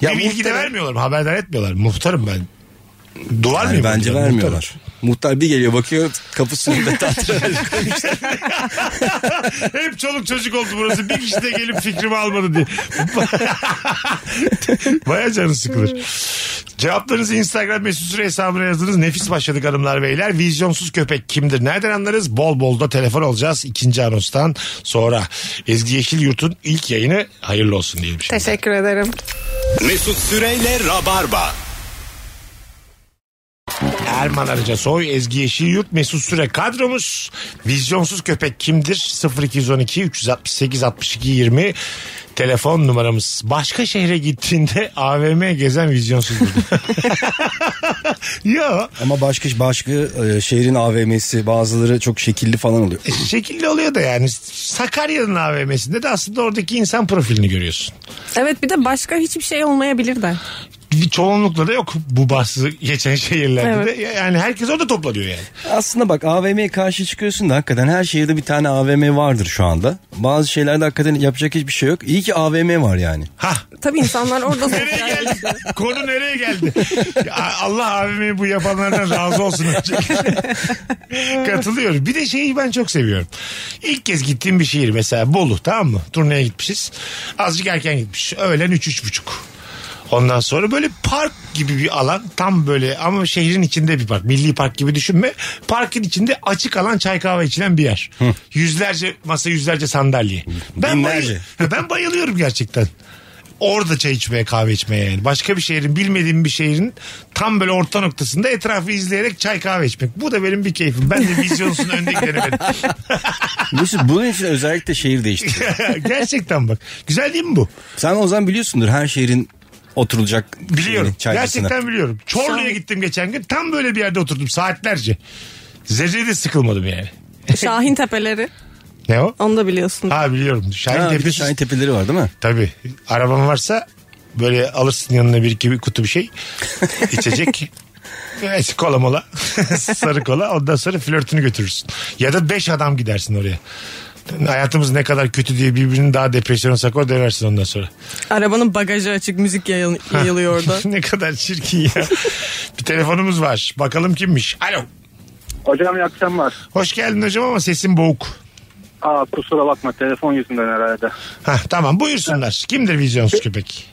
Speaker 4: Ya
Speaker 3: bir bilgi de
Speaker 4: muhtara-
Speaker 3: vermiyorlar mı? Haberdar etmiyorlar mı? Muhtarım ben. Duvar
Speaker 4: Yani
Speaker 3: mıyım?
Speaker 4: bence
Speaker 3: muhtarım?
Speaker 4: vermiyorlar. Muhtar bir geliyor bakıyor kapısını da
Speaker 3: Muhtarım. Hep çoluk çocuk oldu burası. Bir kişi de gelip fikrimi almadı diye. Baya canı sıkılır. Cevaplarınızı Instagram mesut süre hesabına yazınız. Nefis başladık hanımlar beyler. Vizyonsuz köpek kimdir? Nereden anlarız? Bol bol da telefon olacağız. ikinci anonstan sonra. Ezgi Yeşilyurt'un ilk yayını hayırlı olsun diyelim şimdi.
Speaker 5: Teşekkür ederim.
Speaker 2: Mesut Süreyle Rabarba.
Speaker 3: Erman Arıca Soy, Ezgi Yeşilyurt, Mesut Süre kadromuz. Vizyonsuz köpek kimdir? 0212 368 62 20 telefon numaramız. Başka şehre gittiğinde AVM gezen vizyonsuz mudur? Yo
Speaker 4: Ama başka başka e, şehrin AVM'si bazıları çok şekilli falan oluyor.
Speaker 3: şekilli oluyor da yani Sakarya'nın AVM'sinde de aslında oradaki insan profilini görüyorsun.
Speaker 5: Evet bir de başka hiçbir şey olmayabilir de.
Speaker 3: Bir çoğunlukla da yok bu bahsi geçen şehirlerde
Speaker 5: Evet.
Speaker 3: de. Yani herkes orada toplanıyor yani.
Speaker 4: Aslında bak AVM'ye karşı çıkıyorsun da hakikaten her şehirde bir tane AVM vardır şu anda. Bazı şeylerde hakikaten yapacak hiçbir şey yok. İyi ki AVM var yani.
Speaker 3: Hah
Speaker 5: Tabii insanlar orada
Speaker 3: Nereye
Speaker 5: sosyal.
Speaker 3: geldi? Konu nereye geldi? Ya Allah abimi bu yapanlardan razı olsun. önce. Katılıyorum. Bir de şeyi ben çok seviyorum. İlk kez gittiğim bir şehir mesela Bolu tamam mı? Turneye gitmişiz. Azıcık erken gitmiş. Öğlen 3 üç, üç buçuk. Ondan sonra böyle park gibi bir alan tam böyle ama şehrin içinde bir park. Milli park gibi düşünme. Parkın içinde açık alan çay kahve içilen bir yer. Yüzlerce masa yüzlerce sandalye. Ben, bayıl-
Speaker 4: Binlerce.
Speaker 3: ben bayılıyorum gerçekten. Orada çay içmeye kahve içmeye yani. Başka bir şehrin bilmediğim bir şehrin tam böyle orta noktasında etrafı izleyerek çay kahve içmek. Bu da benim bir keyfim. Ben de vizyonsun önde gideni benim.
Speaker 4: Mesut bunun için özellikle şehir değiştir.
Speaker 3: gerçekten bak. Güzel değil mi bu?
Speaker 4: Sen o zaman biliyorsundur her şehrin oturulacak
Speaker 3: Biliyorum.
Speaker 4: şeyini, çaycısını.
Speaker 3: Gerçekten biliyorum. Çorlu'ya gittim geçen gün. Tam böyle bir yerde oturdum saatlerce. Zerre de sıkılmadım yani.
Speaker 5: Şahin tepeleri.
Speaker 3: Ne o?
Speaker 5: Onu da biliyorsun.
Speaker 3: Ha biliyorum. Şahin
Speaker 4: Ha, bir de
Speaker 3: Tepesi.
Speaker 4: Şahin tepeleri var değil mi?
Speaker 3: Tabii. Araban varsa böyle alırsın yanına bir iki bir kutu bir şey. içecek. Evet, kola mola. Sarı kola. Ondan sonra flörtünü götürürsün. Ya da beş adam gidersin oraya. Hayatımız ne kadar kötü diye birbirini daha depresyona sakor döversin ondan sonra.
Speaker 5: Arabanın bagajı açık müzik yayıl- yayılıyor orada.
Speaker 3: ne kadar çirkin ya. bir telefonumuz var. Bakalım kimmiş. Alo.
Speaker 6: Hocam iyi akşamlar.
Speaker 3: Hoş geldin hocam ama sesin boğuk.
Speaker 6: Aa kusura bakma telefon yüzünden herhalde.
Speaker 3: Hah, tamam buyursunlar. Kimdir vizyonsuz köpek?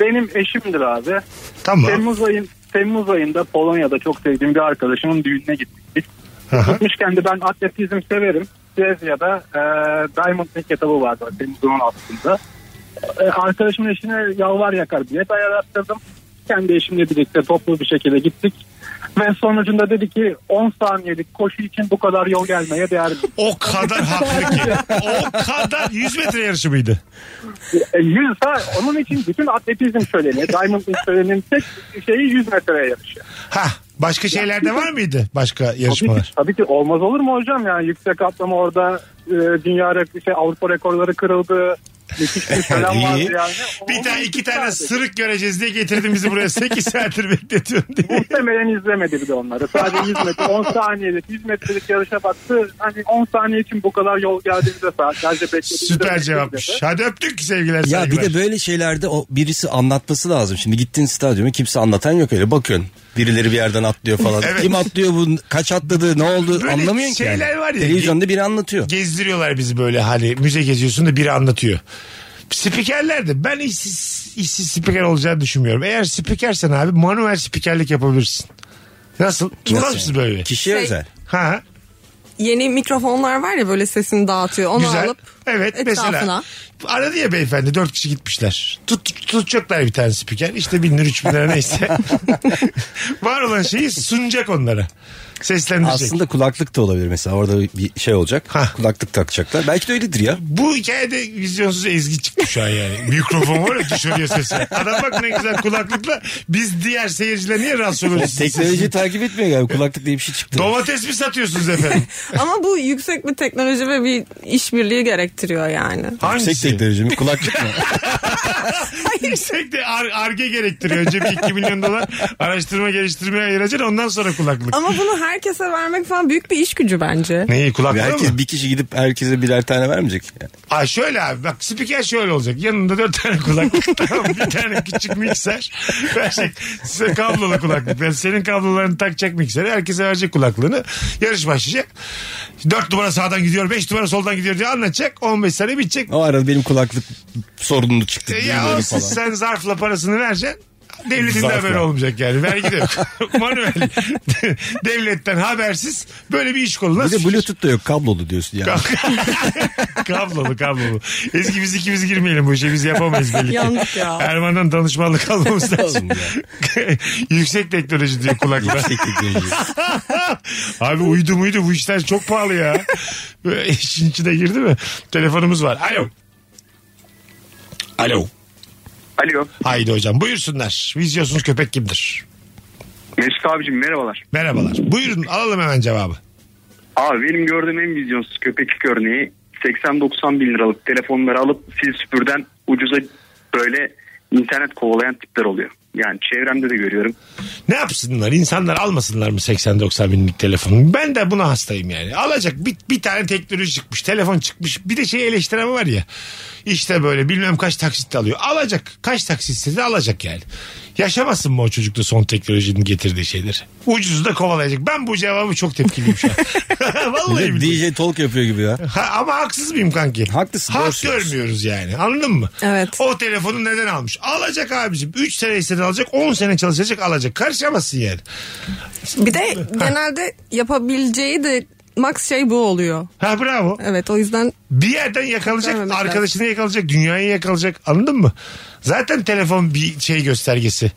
Speaker 6: Benim eşimdir abi.
Speaker 3: Tamam.
Speaker 6: Temmuz ayın Temmuz ayında Polonya'da çok sevdiğim bir arkadaşımın düğününe gittik. Biz
Speaker 3: Aha.
Speaker 6: gitmişken de ben atletizm severim. Brezilya'da e, Diamond League etabı vardı Temmuz'un altında. E, arkadaşımın eşine yalvar yakar bilet ayarlattırdım. Kendi eşimle birlikte toplu bir şekilde gittik. Ve sonucunda dedi ki 10 saniyelik koşu için bu kadar yol gelmeye değer mi?
Speaker 3: O kadar haklı ki. O kadar 100 metre yarışı mıydı?
Speaker 6: E, 100 ha, onun için bütün atletizm şöleni, Diamond League şöleninin tek şeyi 100 metreye yarışı.
Speaker 3: Ha başka şeyler de var mıydı? Başka
Speaker 6: Tabii
Speaker 3: yarışmalar.
Speaker 6: ki, tabii ki olmaz olur mu hocam yani yüksek atlama orada e, dünya rekoru şey Avrupa rekorları kırıldı. Müthiş bir selam
Speaker 4: İyi.
Speaker 6: vardı yani.
Speaker 3: Bir
Speaker 6: Onu
Speaker 3: tane iki tane
Speaker 6: izlerdik.
Speaker 3: sırık göreceğiz diye getirdin bizi buraya. 8 saattir bekletiyorum diye.
Speaker 6: Muhtemelen izlemedi bir de onları. Sadece 100 metre, 10 saniyelik, 100 metrelik yarışa baktı. Hani 10 saniye için bu kadar yol geldiğimizde saatlerce beklediğimizde.
Speaker 3: Süper cevapmış. Hadi öptük sevgiler
Speaker 4: Ya bir
Speaker 3: saygılar.
Speaker 4: de böyle şeylerde o birisi anlatması lazım. Şimdi gittiğin stadyuma kimse anlatan yok öyle bakıyorsun. Birileri bir yerden atlıyor falan.
Speaker 3: Evet.
Speaker 4: Kim atlıyor bu kaç atladı ne oldu
Speaker 3: Böyle
Speaker 4: anlamıyorsun ki.
Speaker 3: şeyler
Speaker 4: yani.
Speaker 3: var ya.
Speaker 4: Televizyonda biri anlatıyor.
Speaker 3: Gezdiriyorlar bizi böyle hani müze geziyorsun da biri anlatıyor. Spikerler de ben işsiz, işsiz spiker olacağını düşünmüyorum. Eğer spikersen abi manuel spikerlik yapabilirsin. Nasıl? Tutar mısın böyle?
Speaker 4: Kişiye
Speaker 5: Şey-
Speaker 4: özel.
Speaker 3: Ha,
Speaker 5: Yeni mikrofonlar var ya böyle sesini dağıtıyor. Onu
Speaker 3: güzel.
Speaker 5: alıp
Speaker 3: evet mesela.
Speaker 5: etrafına.
Speaker 3: Aradı ya beyefendi dört kişi gitmişler. Tut, tut- tutacaklar bir tane spiker. İşte bin lira üç bin lira neyse. var olan şeyi sunacak onlara. Seslendirecek.
Speaker 4: Aslında kulaklık da olabilir mesela orada bir şey olacak.
Speaker 3: Hah.
Speaker 4: Kulaklık takacaklar. Belki de öyledir ya.
Speaker 3: Bu hikayede vizyonsuz Ezgi çıktı şu an yani. Mikrofon var ya düşürüyor sesi. Adam bak ne güzel kulaklıkla biz diğer seyirciler niye rahatsız oluyoruz?
Speaker 4: Teknoloji takip etmiyor galiba kulaklık diye bir şey çıktı.
Speaker 3: Domates mi satıyorsunuz efendim?
Speaker 5: Ama bu yüksek bir teknoloji ve bir işbirliği gerektiriyor yani.
Speaker 3: Hangisi?
Speaker 4: Yüksek teknoloji mi kulaklık mı?
Speaker 3: Yüksek de ar- arge gerektiriyor. Önce bir 2 milyon dolar araştırma geliştirmeye ayıracaksın ondan sonra kulaklık.
Speaker 5: Ama bunu herkese vermek falan büyük bir iş gücü bence.
Speaker 3: Neyi kulaklığı
Speaker 4: Herkes
Speaker 3: mı?
Speaker 4: bir kişi gidip herkese birer tane vermeyecek. Yani.
Speaker 3: Aa, şöyle abi bak spiker şöyle olacak. Yanında dört tane kulaklık tamam bir tane küçük mikser. Verecek size kablolu kulaklık. Yani senin kablolarını takacak mikseri. Herkese verecek kulaklığını. Yarış başlayacak. Dört numara sağdan gidiyor. Beş numara soldan gidiyor diye anlatacak. 15 sene bitecek.
Speaker 4: O arada benim kulaklık sorunlu çıktı.
Speaker 3: E, ya
Speaker 4: duymuyorum
Speaker 3: o-
Speaker 4: falan.
Speaker 3: sen zarfla parasını vereceksin. Devletin de
Speaker 4: Zarfla.
Speaker 3: haberi olmayacak yani. Vergi de yok. Manuel. Devletten habersiz böyle bir iş kolu.
Speaker 4: Bir
Speaker 3: Nasıl
Speaker 4: de bluetooth da yok kablolu diyorsun yani.
Speaker 3: kablolu kablolu. Ezgi biz ikimiz girmeyelim bu işe biz yapamayız belli ki.
Speaker 5: Yandık ya.
Speaker 3: Erman'dan danışmanlık almamız lazım.
Speaker 4: Lazım
Speaker 3: Yüksek teknoloji diyor kulaklar.
Speaker 4: Yüksek teknoloji.
Speaker 3: Abi uydu muydu bu işler çok pahalı ya. Böyle İşin içine girdi mi? Telefonumuz var. Alo. Alo.
Speaker 8: Alo.
Speaker 3: Haydi hocam buyursunlar. Vizyonsuz köpek kimdir?
Speaker 8: Mesut abicim merhabalar.
Speaker 3: Merhabalar. Buyurun alalım hemen cevabı.
Speaker 8: Abi benim gördüğüm en vizyonsuz köpeklik örneği 80-90 bin liralık telefonları alıp sil süpürden ucuza böyle internet kovalayan tipler oluyor. Yani çevremde de görüyorum.
Speaker 3: Ne yapsınlar? İnsanlar almasınlar mı 80-90 binlik telefonu? Ben de buna hastayım yani. Alacak bir, bir tane teknoloji çıkmış. Telefon çıkmış. Bir de şey eleştiren var ya. İşte böyle bilmem kaç taksitle alıyor. Alacak. Kaç taksitle de alacak yani. Yaşamasın mı o çocuk da son teknolojinin getirdiği şeyleri? Ucuzu da kovalayacak. Ben bu cevabı çok tepkiliyim şu an. Vallahi billahi.
Speaker 4: DJ Talk yapıyor gibi ya.
Speaker 3: Ha, ama haksız mıyım kanki?
Speaker 4: Haklısın,
Speaker 3: Hak
Speaker 4: doğru söylüyorsun.
Speaker 3: görmüyoruz yani. Anladın mı?
Speaker 5: Evet.
Speaker 3: O telefonu neden almış? Alacak abicim. 3 sene istedi alacak. 10 sene çalışacak alacak. Karışamazsın yani.
Speaker 5: Bir de genelde yapabileceği de max şey bu oluyor.
Speaker 3: Ha bravo.
Speaker 5: Evet o yüzden
Speaker 3: Bir yerden yakalayacak.
Speaker 5: Görmemek
Speaker 3: arkadaşını yakalayacak. Dünyayı yakalayacak. Anladın mı? Zaten telefon bir şey göstergesi.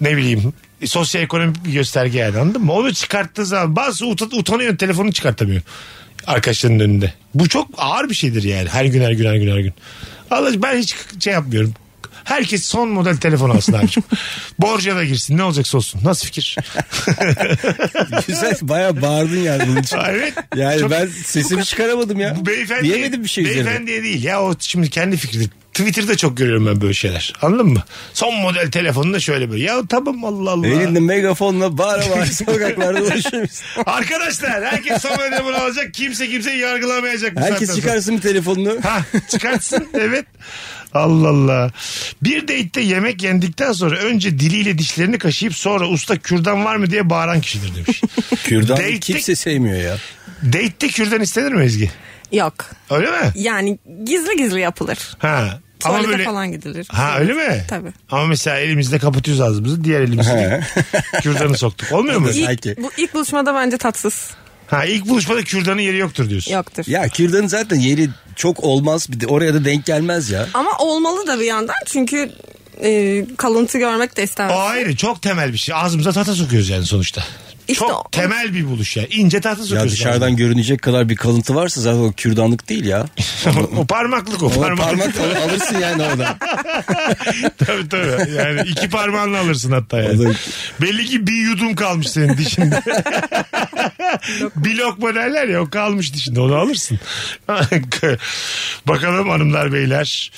Speaker 3: Ne bileyim sosyoekonomik bir gösterge yani anladın mı? Onu çıkarttığı zaman bazı ut- utanıyor telefonu çıkartamıyor arkadaşlarının önünde. Bu çok ağır bir şeydir yani her gün her gün her gün her gün. Allah ben hiç şey yapmıyorum. Herkes son model telefon alsın abicim. Borca da girsin ne olacaksa olsun. Nasıl fikir?
Speaker 4: Güzel bayağı bağırdın yani bunun için.
Speaker 3: evet.
Speaker 4: Yani
Speaker 3: Çok-
Speaker 4: ben sesimi çıkaramadım ya.
Speaker 3: Bu beyefendi,
Speaker 4: Diyemedim bir şey üzerine.
Speaker 3: Beyefendiye değil ya o şimdi kendi fikridir. Twitter'da çok görüyorum ben böyle şeyler. Anladın mı? Son model telefonunda şöyle böyle. Ya tamam Allah Allah.
Speaker 4: Elinde megafonla bağıra bağıra sokaklarda dolaşıyoruz.
Speaker 3: Arkadaşlar herkes son model bunu alacak. Kimse kimseyi yargılamayacak. bu saatten
Speaker 4: Herkes
Speaker 3: sonra.
Speaker 4: çıkarsın bir telefonunu.
Speaker 3: Ha, çıkartsın evet. Allah Allah. Bir date'te yemek yendikten sonra önce diliyle dişlerini kaşıyıp sonra usta kürdan var mı diye bağıran kişidir demiş.
Speaker 4: Kürdan
Speaker 3: Date'lik-
Speaker 4: kimse sevmiyor ya.
Speaker 3: Date'te kürdan istenir mi Ezgi?
Speaker 5: yok.
Speaker 3: Öyle mi?
Speaker 5: Yani gizli gizli yapılır.
Speaker 3: Ha. ama
Speaker 5: Tuvalete
Speaker 3: böyle-
Speaker 5: falan gidilir.
Speaker 3: Ha öyle mi?
Speaker 5: Tabii.
Speaker 3: Ama mesela elimizle kapatıyoruz ağzımızı. Diğer elimizle kürdanı soktuk. Olmuyor mu?
Speaker 5: İlk,
Speaker 4: Sanki.
Speaker 5: bu ilk buluşmada bence tatsız.
Speaker 3: Ha ilk buluşmada kürdanın yeri yoktur diyorsun.
Speaker 5: Yoktur.
Speaker 4: Ya kürdanın zaten yeri çok olmaz. Bir de oraya da denk gelmez ya.
Speaker 5: Ama olmalı da bir yandan çünkü e, kalıntı görmek de
Speaker 3: O
Speaker 5: istemez.
Speaker 3: ayrı çok temel bir şey. Ağzımıza tahta sokuyoruz yani sonuçta.
Speaker 5: İşte
Speaker 3: çok
Speaker 5: o-
Speaker 3: temel bir buluş ya. İnce tahta
Speaker 4: Ya
Speaker 3: sokuyoruz.
Speaker 4: dışarıdan görünecek kadar bir kalıntı varsa zaten o kürdanlık değil ya.
Speaker 3: ağzına. o parmaklık o
Speaker 4: O
Speaker 3: parmaklık.
Speaker 4: parmak al- alırsın yani orada.
Speaker 3: tabii tabii. Yani iki parmağınla alırsın hatta
Speaker 4: O
Speaker 3: yani.
Speaker 4: da-
Speaker 3: Belli ki bir yudum kalmış senin dişinde. bir lokma derler ya o kalmış dişinde onu alırsın. Bakalım hanımlar beyler.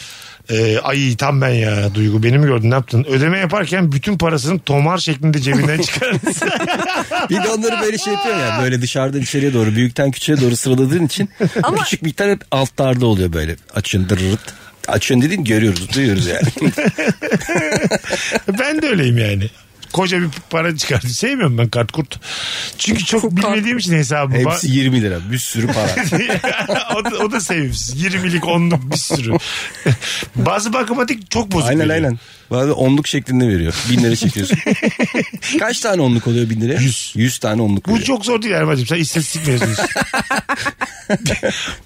Speaker 3: Ee, ay tam ben ya Duygu beni mi gördün ne yaptın? Ödeme yaparken bütün parasını tomar şeklinde cebinden çıkarırsın.
Speaker 4: Bir de onları böyle şey yapıyor ya. Böyle dışarıdan içeriye doğru büyükten küçüğe doğru sıraladığın için küçük miktar hep altlarda oluyor böyle. Açın dırırırt. Açın dediğin görüyoruz duyuyoruz yani.
Speaker 3: ben de öyleyim yani. Koca bir para çıkardım. Sevmiyorum ben kart kurt. Çünkü çok bilmediğim için hesabımı.
Speaker 4: Hepsi 20 lira bir sürü para.
Speaker 3: o, da, o da sevimsiz. 20'lik 10'luk bir sürü. Bazı bankamatik çok bozuk.
Speaker 4: aynen
Speaker 3: veriyor.
Speaker 4: aynen. Bazen onluk şeklinde veriyor. Bin lira çekiyorsun. Kaç tane onluk oluyor bin lira?
Speaker 3: Yüz.
Speaker 4: Yüz tane onluk
Speaker 3: Bu
Speaker 4: veriyor.
Speaker 3: çok zor değil Erman'cığım. Sen istatistik mezunusun.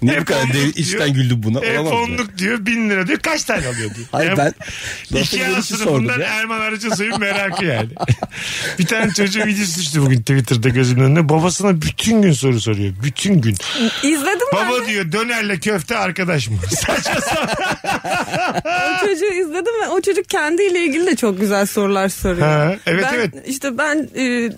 Speaker 4: Ne bu kadar
Speaker 3: onluk
Speaker 4: dev,
Speaker 3: diyor.
Speaker 4: içten güldüm buna.
Speaker 3: Hep
Speaker 4: Olamaz mı?
Speaker 3: onluk diyor. Bin lira diyor. Kaç tane alıyor diyor.
Speaker 4: Hayır
Speaker 3: Yani
Speaker 4: ben lafın
Speaker 3: İki A
Speaker 4: gelişi sordum
Speaker 3: sınıfından
Speaker 4: ya.
Speaker 3: Erman Arıcı suyun merakı yani. bir tane çocuğun videosu düştü bugün Twitter'da gözümün önüne. Babasına bütün gün soru soruyor. Bütün gün.
Speaker 5: İzledim ben.
Speaker 3: Baba
Speaker 5: de.
Speaker 3: diyor dönerle köfte arkadaş mı? Saçma sapan.
Speaker 5: O çocuğu izledim ve o çocuk kendiyle ilgili de çok güzel sorular soruyor.
Speaker 3: Ha, evet,
Speaker 5: ben,
Speaker 3: evet.
Speaker 5: İşte ben e,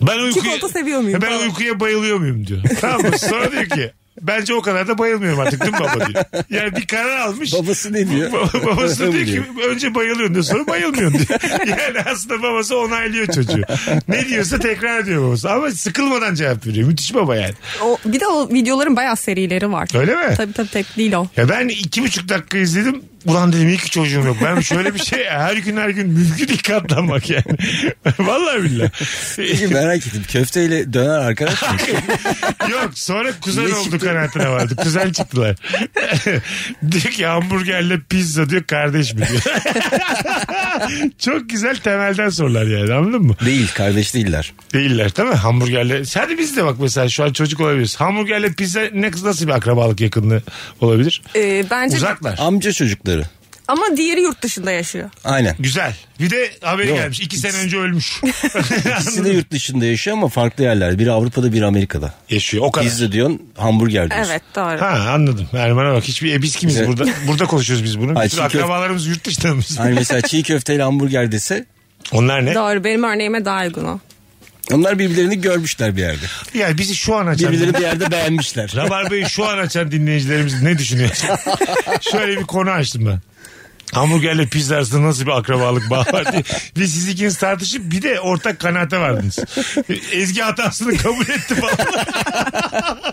Speaker 3: Ben uykuya,
Speaker 5: Çikolata seviyor muyum?
Speaker 3: Ben
Speaker 5: Tamam.
Speaker 3: uykuya bayılıyor muyum diyor. Tamam mı? Sonra diyor ki bence o kadar da bayılmıyorum artık değil mi baba diyor. Yani bir karar almış.
Speaker 4: Babası ne diyor?
Speaker 3: Baba- şey. babası
Speaker 4: Bu
Speaker 3: diyor ki önce bayılıyorsun diyor sonra bayılmıyorsun diyor. Yani aslında babası onaylıyor çocuğu. Ne diyorsa tekrar ediyor babası. Ama sıkılmadan cevap veriyor. Müthiş baba yani.
Speaker 5: o, bir de o videoların bayağı serileri var.
Speaker 3: Öyle mi?
Speaker 5: Tabii tabii tek değil o.
Speaker 3: Ya ben iki buçuk dakika izledim. Ulan dedim iyi ki çocuğum yok. Ben şöyle bir şey her gün her gün mümkün değil katlanmak yani. Vallahi billahi.
Speaker 4: Peki merak ettim. Köfteyle döner arkadaş mı?
Speaker 3: Yok sonra kuzen
Speaker 4: Ne
Speaker 3: oldu
Speaker 4: çıktı?
Speaker 3: kanaatine vardı. Kuzen çıktılar. diyor ki hamburgerle pizza diyor kardeş mi diyor. Çok güzel temelden sorular yani anladın mı?
Speaker 4: Değil kardeş değiller.
Speaker 3: Değiller değil mi? Hamburgerle. Sen de biz de bak mesela şu an çocuk olabiliriz. Hamburgerle pizza ne nasıl bir akrabalık yakınlığı olabilir?
Speaker 5: E, bence
Speaker 3: Uzaklar.
Speaker 4: Amca çocukları.
Speaker 5: ama diğeri yurt dışında yaşıyor.
Speaker 4: Aynen.
Speaker 3: Güzel. Bir de haberi
Speaker 4: Yok.
Speaker 3: gelmiş. İki sene önce ölmüş.
Speaker 4: İkisi de yurt dışında yaşıyor ama farklı yerler. Biri Avrupa'da biri Amerika'da.
Speaker 3: Yaşıyor. O kadar.
Speaker 4: Pizza diyorsun hamburger diyorsun.
Speaker 5: Evet doğru.
Speaker 3: Ha anladım. Erman'a bak. Hiçbir, e, biz kimiz
Speaker 4: Güzel.
Speaker 3: burada? Burada konuşuyoruz biz bunu.
Speaker 4: Ay,
Speaker 3: Bütün
Speaker 4: çünkü-
Speaker 3: akrabalarımız yurt dışında mı?
Speaker 4: Hani mesela çiğ köfteyle hamburger dese
Speaker 3: Onlar ne?
Speaker 5: Doğru benim örneğime daha uygun o.
Speaker 4: onlar birbirlerini görmüşler bir yerde.
Speaker 3: Ya bizi şu an açan
Speaker 4: Birbirlerini bir yerde beğenmişler.
Speaker 3: Rabarbayı şu an açan dinleyicilerimiz ne düşünüyor? Şöyle bir konu açtım ben. Hamburgerle pizza arasında nasıl bir akrabalık bağı var diye. Ve siz ikiniz tartışıp bir de ortak kanaate vardınız. Ezgi hatasını kabul etti falan.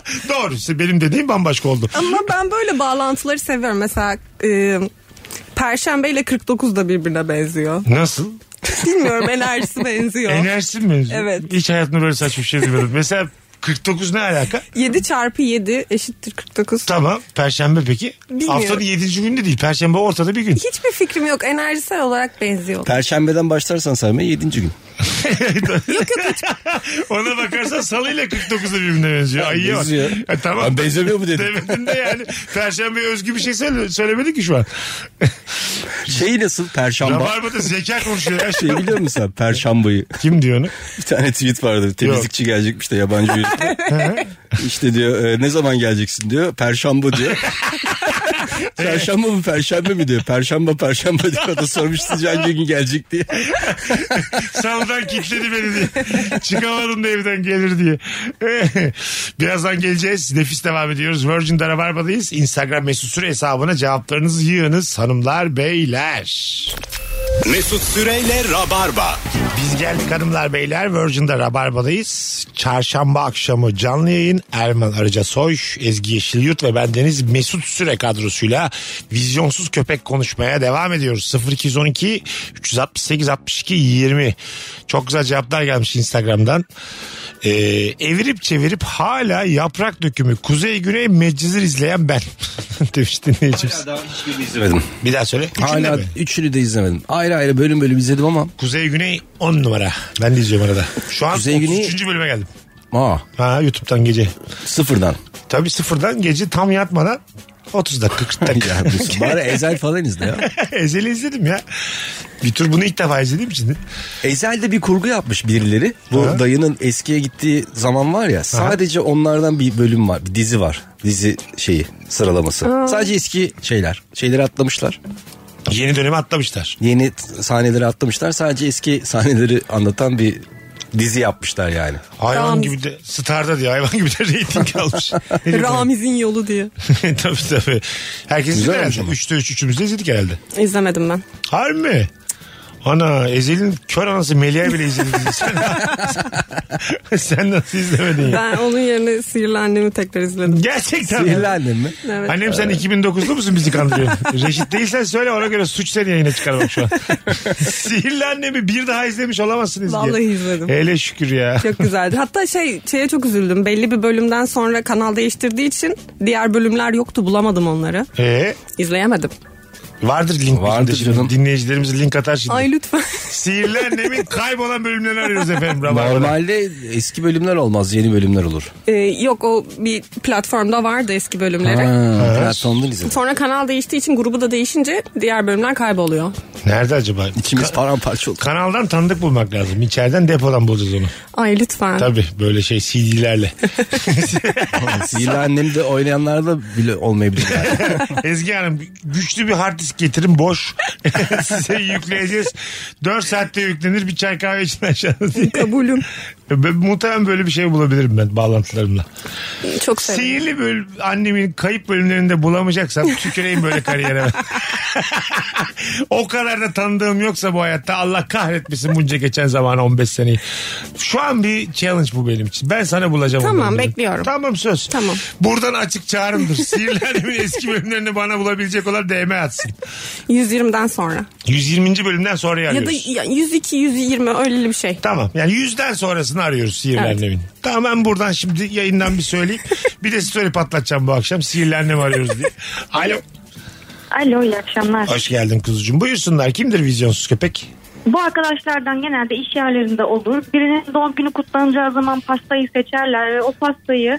Speaker 3: Doğru. işte Benim dediğim bambaşka oldu.
Speaker 5: Ama ben böyle bağlantıları seviyorum. Mesela e, Perşembe ile 49 da birbirine benziyor.
Speaker 3: Nasıl?
Speaker 5: Bilmiyorum enerjisi benziyor.
Speaker 3: Enerjisi mi?
Speaker 5: Evet.
Speaker 3: Hiç hayatımda böyle saçma bir şey duymadım. Mesela 49 ne alaka?
Speaker 5: 7 çarpı 7 eşittir 49.
Speaker 3: Tamam. Perşembe peki?
Speaker 5: Bilmiyorum.
Speaker 3: Haftanın 7. günü de değil. Perşembe ortada bir gün.
Speaker 5: Hiçbir fikrim yok. Enerjisel olarak benziyor.
Speaker 4: Perşembeden başlarsan saymaya 7. gün.
Speaker 3: Ona bakarsan salıyla 49'a birbirine benziyor. Ayıya bak.
Speaker 4: benziyor.
Speaker 3: Ha, tamam.
Speaker 4: Ben benzemiyor mu dedim.
Speaker 3: Demedin de yani. Perşembe özgü bir şey söyle, söylemedin ki şu an.
Speaker 4: Şeyi Şey nasıl perşembe?
Speaker 3: Rabarba'da zeka konuşuyor. Her şey.
Speaker 4: Şey biliyor musun sen perşambayı?
Speaker 3: Kim diyor onu?
Speaker 4: Bir tane tweet vardı. Temizlikçi gelecekmiş de yabancı yüzlü. işte diyor e, ne zaman geleceksin diyor. Perşembe diyor. Perşembe mi perşembe mi diyor. Perşembe perşembe diyor. O da sormuş sizce hangi gün gelecek diye.
Speaker 3: Savdan kilitledi beni diye. Çıkamadım da evden gelir diye. E, Birazdan geleceğiz. Nefis devam ediyoruz. Virgin'de Rabarba'dayız. Instagram mesut süre hesabına cevaplarınızı yığınız hanımlar beyler.
Speaker 2: Mesut Süreyle Rabarba.
Speaker 3: Biz geldik hanımlar beyler Virgin'de Rabarba'dayız. Çarşamba akşamı canlı yayın Erman Arıca Soy, Ezgi Yeşilyurt ve bendeniz Mesut Süre kadrosuyla vizyonsuz köpek konuşmaya devam ediyoruz. 0212 368 62 20 çok güzel cevaplar gelmiş Instagram'dan. Ee, evirip çevirip hala yaprak dökümü kuzey güney meccizir izleyen ben demiş dinleyicimiz.
Speaker 4: İzlemedim.
Speaker 3: Bir daha söyle. Üçünde
Speaker 4: Hala
Speaker 3: mi?
Speaker 4: üçünü de izlemedim. Ayrı ayrı bölüm bölüm izledim ama.
Speaker 3: Kuzey güney 10 numara. Ben de izliyorum arada. Şu an
Speaker 4: Kuzey, Güney-
Speaker 3: 33. bölüme geldim.
Speaker 4: Aa,
Speaker 3: Ha YouTube'dan gece.
Speaker 4: sıfırdan.
Speaker 3: Tabii sıfırdan gece tam yatmadan 30 dakika 40
Speaker 4: Ya,
Speaker 3: dakika.
Speaker 4: bari Ezel falan izle ya.
Speaker 3: Ezeli izledim ya. Bir tür bunu ilk defa izlediğim için.
Speaker 4: Ezel'de bir kurgu yapmış birileri. Bu
Speaker 3: Aha.
Speaker 4: dayının eskiye gittiği zaman var ya sadece onlardan bir bölüm var. Bir dizi var. Dizi şeyi sıralaması. Sadece eski şeyler. Şeyleri atlamışlar.
Speaker 3: Yeni dönemi atlamışlar.
Speaker 4: Yeni t- sahneleri atlamışlar. Sadece eski sahneleri anlatan bir dizi yapmışlar yani.
Speaker 3: Hayvan
Speaker 5: Ramiz.
Speaker 3: gibi de starda diye hayvan gibi de reyting almış. Ne diyor?
Speaker 5: Ramiz'in yolu diye.
Speaker 3: tabii tabii. Herkes izledi
Speaker 4: Güzel olmuş
Speaker 3: herhalde.
Speaker 4: ama.
Speaker 3: Üçte üç üçümüz de izledik herhalde.
Speaker 5: İzlemedim ben.
Speaker 3: Harbi mi? Ana Ezel'in kör anası Melia bile izledi. bizi. Sen, sen nasıl izlemedin ya?
Speaker 5: Ben onun yerine sihirli annemi tekrar izledim.
Speaker 3: Gerçekten. mi?
Speaker 4: Sihirli annem mi?
Speaker 5: Evet.
Speaker 3: Annem sen 2009'lu musun bizi kandırıyorsun? Reşit değilsen söyle ona göre suç seni yayına çıkar bak şu an. Sihirli annemi bir daha izlemiş olamazsınız diye.
Speaker 5: Vallahi izledim.
Speaker 3: Hele şükür ya.
Speaker 5: Çok güzeldi. Hatta şey şeye çok üzüldüm. Belli bir bölümden sonra kanal değiştirdiği için diğer bölümler yoktu. Bulamadım onları.
Speaker 3: Ee,
Speaker 5: İzleyemedim.
Speaker 3: vardır link.
Speaker 4: Vardır
Speaker 3: bizim
Speaker 4: canım.
Speaker 3: Dinleyicilerimiz link atar şimdi.
Speaker 5: Ay lütfen.
Speaker 3: Sihirli annemin kaybolan bölümlerini arıyoruz efendim. Rabarba'da.
Speaker 4: Normalde eski bölümler olmaz yeni bölümler olur.
Speaker 5: Ee, yok o bir platformda vardı eski bölümleri.
Speaker 4: Ha, platformdan izledim.
Speaker 5: Sonra kanal değiştiği için grubu da değişince diğer bölümler kayboluyor.
Speaker 3: Nerede acaba?
Speaker 4: İçimiz
Speaker 3: Ka-
Speaker 4: paramparça oldu.
Speaker 3: Kanaldan tanıdık bulmak lazım. İçeriden depodan bulacağız onu.
Speaker 5: Ay lütfen.
Speaker 3: Tabii böyle şey CD'lerle.
Speaker 4: Sihirli annem de oynayanlarda bile olmayabilir yani.
Speaker 3: Ezgi Hanım güçlü bir hard disk getirin boş. Size yükleyeceğiz. 4 saatte yüklenir bir çay kahve için aşağıda diye.
Speaker 5: Kabulüm.
Speaker 3: Ben, muhtemelen böyle bir şey bulabilirim ben bağlantılarımla.
Speaker 5: Çok sevindim.
Speaker 3: Sihirli bölüm, annemin kayıp bölümlerinde bulamayacaksam tüküreyim böyle kariyere. ben. o kadar da tanıdığım yoksa bu hayatta Allah kahretmesin bunca geçen zaman 15 seneyi. Şu an bir challenge bu benim için. Ben sana bulacağım. o
Speaker 5: Tamam,
Speaker 3: bölümleri.
Speaker 5: bekliyorum.
Speaker 3: Tamam söz.
Speaker 5: Tamam.
Speaker 3: Buradan açık çağrımdır. Sihirli annemin eski bölümlerini bana bulabilecek olan DM atsın.
Speaker 5: 120'den sonra.
Speaker 3: 120. bölümden sonra
Speaker 5: Ya da
Speaker 3: arıyoruz.
Speaker 5: ya 102, 120 öyle bir şey.
Speaker 3: Tamam yani yüzden sonrasını arıyoruz sihirli
Speaker 5: Evet.
Speaker 3: annemin. Tamam ben buradan şimdi yayından bir söyleyeyim. bir de story patlatacağım bu akşam sihirli annemi arıyoruz diye. Alo.
Speaker 9: Alo iyi akşamlar.
Speaker 3: Hoş geldin kuzucuğum. Buyursunlar kimdir vizyonsuz köpek?
Speaker 9: Bu arkadaşlardan genelde iş yerlerinde olur. Birinin doğum günü kutlanacağı zaman pastayı seçerler ve o pastayı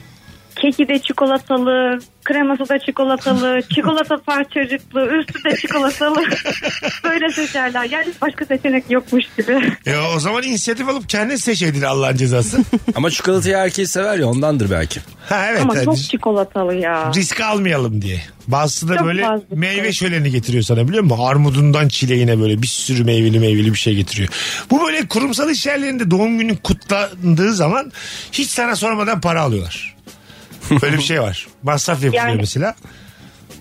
Speaker 9: keki de çikolatalı, kreması da çikolatalı, çikolata parçacıklı, üstü de çikolatalı böyle seçerler. Yani başka seçenek yokmuş gibi.
Speaker 3: E, o zaman inisiyatif alıp kendin seçeydin Allah'ın cezası.
Speaker 4: Ama çikolatayı herkes sever ya ondandır belki.
Speaker 3: ha evet.
Speaker 9: Ama
Speaker 3: hadi.
Speaker 9: çok çikolatalı ya.
Speaker 3: Risk almayalım diye. Bazısı da
Speaker 9: Çok
Speaker 3: böyle
Speaker 9: fazla.
Speaker 3: meyve şöleni getiriyor sana biliyor musun? Armudundan çileğine böyle bir sürü meyveli meyveli bir şey getiriyor. Bu böyle kurumsal iş yerlerinde doğum günün kutlandığı zaman hiç sana sormadan para alıyorlar. Böyle bir şey var. Masraf yapılıyor
Speaker 9: Yani-
Speaker 3: mesela.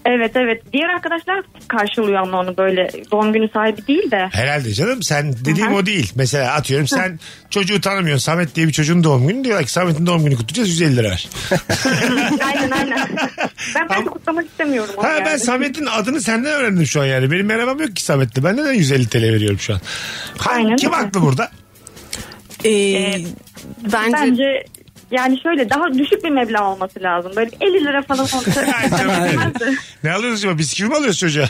Speaker 9: Evet evet. Diğer arkadaşlar karşılıyor ama onu böyle doğum günü sahibi değil de.
Speaker 3: Herhalde canım sen dediğim o değil. Mesela atıyorum sen çocuğu tanımıyorsun. Samet diye bir çocuğun doğum günü diyorlar ki Samet'in doğum günü kutlayacağız 150 lira ver.
Speaker 9: aynen aynen. Ben belki
Speaker 3: Ama-
Speaker 9: kutlamak istemiyorum onu
Speaker 3: Ha, ben
Speaker 9: yani.
Speaker 3: Samet'in adını senden öğrendim şu an yani. Benim merhabam yok ki Samet'le. Ben neden 150 TL veriyorum şu an? Ha,
Speaker 9: Aynen
Speaker 3: kim
Speaker 9: öyle.
Speaker 3: haklı burada?
Speaker 5: Ee,
Speaker 9: Bence...
Speaker 5: bence,
Speaker 9: yani şöyle daha düşük bir meblağ olması lazım. Böyle 50 lira falan olsa.
Speaker 3: Ne alıyoruz acaba? Bisküvi mi alıyoruz çocuğa?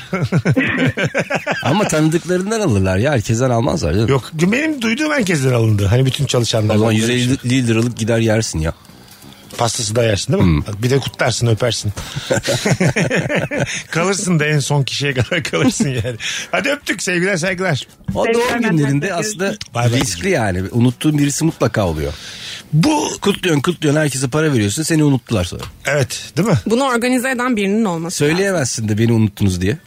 Speaker 4: Ama tanıdıklarından alırlar ya. Herkesten almazlar. Canım.
Speaker 3: yok benim duyduğum herkesten alındı. Hani bütün çalışanlar.
Speaker 4: O zaman
Speaker 3: şey
Speaker 4: 150 liralık gider yersin ya.
Speaker 3: Pastası da yersin değil mi?
Speaker 4: Hmm.
Speaker 3: Bir de kutlarsın öpersin. kalırsın da en son kişiye kadar kalırsın yani. Hadi öptük sevgiler saygılar.
Speaker 4: O
Speaker 9: Tekrar
Speaker 4: doğum
Speaker 9: ben
Speaker 4: günlerinde
Speaker 9: teşekkür
Speaker 4: aslında
Speaker 3: Bay bay.
Speaker 4: riskli yani. Unuttuğun birisi mutlaka oluyor.
Speaker 3: Bu
Speaker 4: Kutluyorsun kutluyorsun herkese para veriyorsun seni unuttular sonra.
Speaker 3: evet değil mi?
Speaker 5: bunu organize eden birinin olması.
Speaker 4: Söyleyemezsin de beni unuttunuz diye.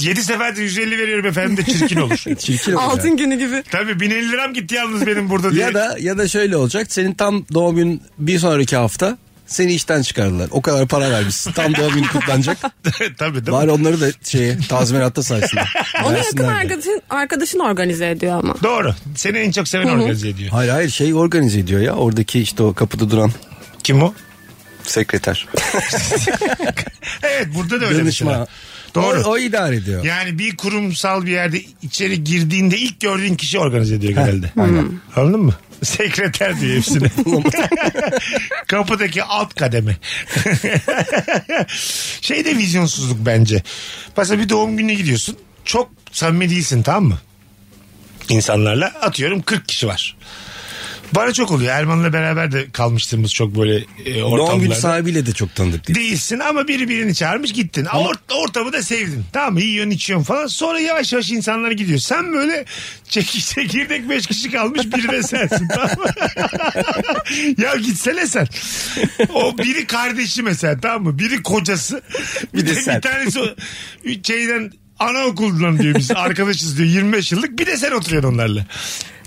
Speaker 3: 7 seferde 150 veriyorum efendim de çirkin olur.
Speaker 4: Çirkin olur.
Speaker 5: Altın günü gibi.
Speaker 3: Tabii 1050 liram gitti yalnız benim burada diye.
Speaker 4: Ya da ya da şöyle olacak. Senin tam doğum günün bir sonraki hafta seni işten çıkardılar. O kadar para vermişsin. Tam doğum günü kutlanacak.
Speaker 3: Tabii değil mi?
Speaker 4: Bari onları da şeye tazminatta saysınlar.
Speaker 5: Onu yakın
Speaker 4: Versinler de.
Speaker 5: arkadaşın, arkadaşın organize ediyor ama.
Speaker 3: Doğru. Seni en çok seven organize ediyor.
Speaker 4: Hayır hayır şey organize ediyor ya. Oradaki işte o kapıda duran
Speaker 3: Kim o?
Speaker 4: sekreter.
Speaker 3: Evet burada da öyle mesela.
Speaker 4: Danışma.
Speaker 3: Doğru.
Speaker 4: O, o idare ediyor.
Speaker 3: Yani bir kurumsal bir yerde içeri girdiğinde ilk gördüğün kişi organize ediyor genelde. Anladın mı? Sekreter diyor hepsine. Kapıdaki alt kademe. şey de vizyonsuzluk bence. Mesela bir doğum gününe gidiyorsun. Çok samimi değilsin tamam mı? İnsanlarla atıyorum 40 kişi var. Bana çok oluyor. Erman'la beraber de kalmıştığımız çok böyle e, ortamlarda.
Speaker 4: Doğum günü sahibiyle de çok tanıdık değil.
Speaker 3: Değilsin ama biri birini çağırmış gittin. Ort- ortamı da sevdin. Tamam mı? Yiyorsun içiyorsun falan. Sonra yavaş yavaş insanlar gidiyor. Sen böyle çekiş çekirdek beş kişi kalmış biri de sensin. Tamam mı? ya gitsene sen. O biri kardeşi mesela tamam mı? Biri kocası. Bir,
Speaker 4: de
Speaker 3: de
Speaker 4: sen.
Speaker 3: Bir tanesi o şeyden anaokulundan diyor biz arkadaşız diyor 25 yıllık bir de sen oturuyorsun onlarla.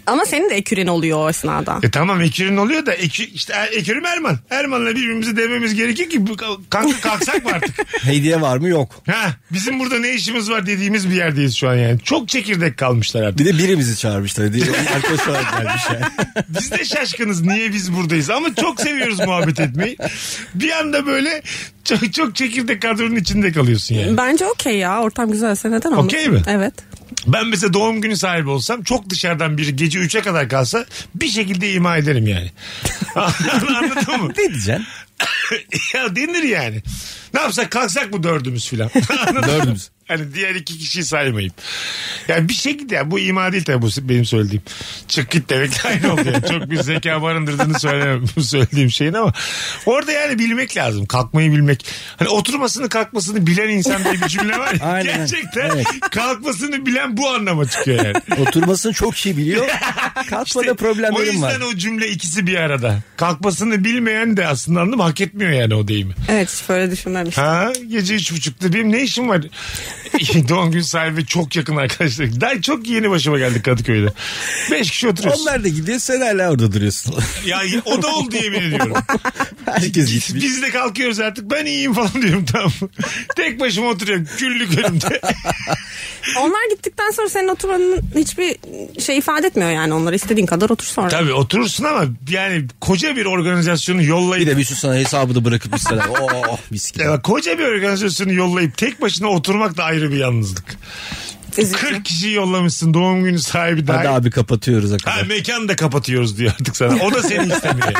Speaker 5: Ama senin de eküren oluyor o esnada.
Speaker 3: E tamam ekürün oluyor da ekü, işte e- ekürüm Erman. Erman'la birbirimizi dememiz gerekir ki bu- kanka kalksak mı artık?
Speaker 4: Hediye var mı yok.
Speaker 3: Ha, bizim burada ne işimiz var dediğimiz bir yerdeyiz şu an yani. Çok çekirdek kalmışlar artık.
Speaker 4: Bir de birimizi çağırmışlar diye. Onun arkadaşı olarak gelmiş yani.
Speaker 3: Biz de şaşkınız niye biz buradayız ama çok seviyoruz muhabbet etmeyi. Bir anda böyle çok, çok çekirdek kadronun içinde kalıyorsun yani.
Speaker 5: Bence okey ya. Ortam güzelse neden olmasın?
Speaker 3: Okey mi?
Speaker 5: Evet.
Speaker 3: Ben mesela doğum günü sahibi olsam çok dışarıdan biri gece 3'e kadar kalsa bir şekilde ima ederim yani. Anladın mı?
Speaker 4: Ne diyeceksin?
Speaker 3: ya denir yani. Ne yapsak kalksak mı dördümüz filan? Anladın mı?
Speaker 4: Dördümüz.
Speaker 3: Hani diğer iki kişiyi saymayıp. Yani bir şekilde ya, bu ima değil tabii bu benim söylediğim. Çık git demek de aynı oldu. yani. Çok bir zeka barındırdığını söylemem bu söylediğim şeyin ama. Orada yani bilmek lazım. Kalkmayı bilmek. Hani oturmasını kalkmasını bilen insan diye bir cümle var ya.
Speaker 4: Aynen.
Speaker 3: Gerçekten
Speaker 4: Evet.
Speaker 3: kalkmasını bilen bu anlama çıkıyor yani.
Speaker 4: Oturmasını çok iyi biliyor.
Speaker 3: İşte
Speaker 4: Kalkmada
Speaker 3: o
Speaker 4: problemlerim
Speaker 3: yüzden
Speaker 4: var.
Speaker 3: o cümle ikisi bir arada. Kalkmasını bilmeyen de aslında anladım hak etmiyor yani o deyimi.
Speaker 5: Evet hiç böyle düşünmemiştim.
Speaker 3: Ha gece üç buçukta benim ne işim var? Doğum gün sahibi çok yakın arkadaşlar. Daha çok yeni başıma geldik Kadıköy'de. Beş kişi oturuyoruz.
Speaker 4: Onlar da gidiyor sen hala orada duruyorsun.
Speaker 3: Ya o da oldu yemin ediyorum.
Speaker 4: Herkes gitmiş.
Speaker 3: Biz de kalkıyoruz artık ben iyiyim falan diyorum tamam mı? Tek başıma oturuyorum küllük önümde.
Speaker 5: Onlar gittikten sonra senin oturmanın hiçbir şey ifade etmiyor yani. Onlar istediğin kadar otur sonra.
Speaker 3: Tabii oturursun ama yani koca bir organizasyonu
Speaker 4: Bir
Speaker 3: yollayıp
Speaker 4: de bir şu sana hesabı da bırakıp istedim. Oo oh, mis gibi.
Speaker 3: Ya koca bir organizasyonu yollayıp tek başına oturmak da ayrı bir yalnızlık.
Speaker 5: Üzücü.
Speaker 3: 40 kişiyi yollamışsın doğum günü sahibi
Speaker 4: Hadi
Speaker 3: dahil.
Speaker 4: abi kapatıyoruz. o
Speaker 3: Ha,
Speaker 4: kadar.
Speaker 3: mekan da kapatıyoruz diyor artık sana. O da seni istemiyor.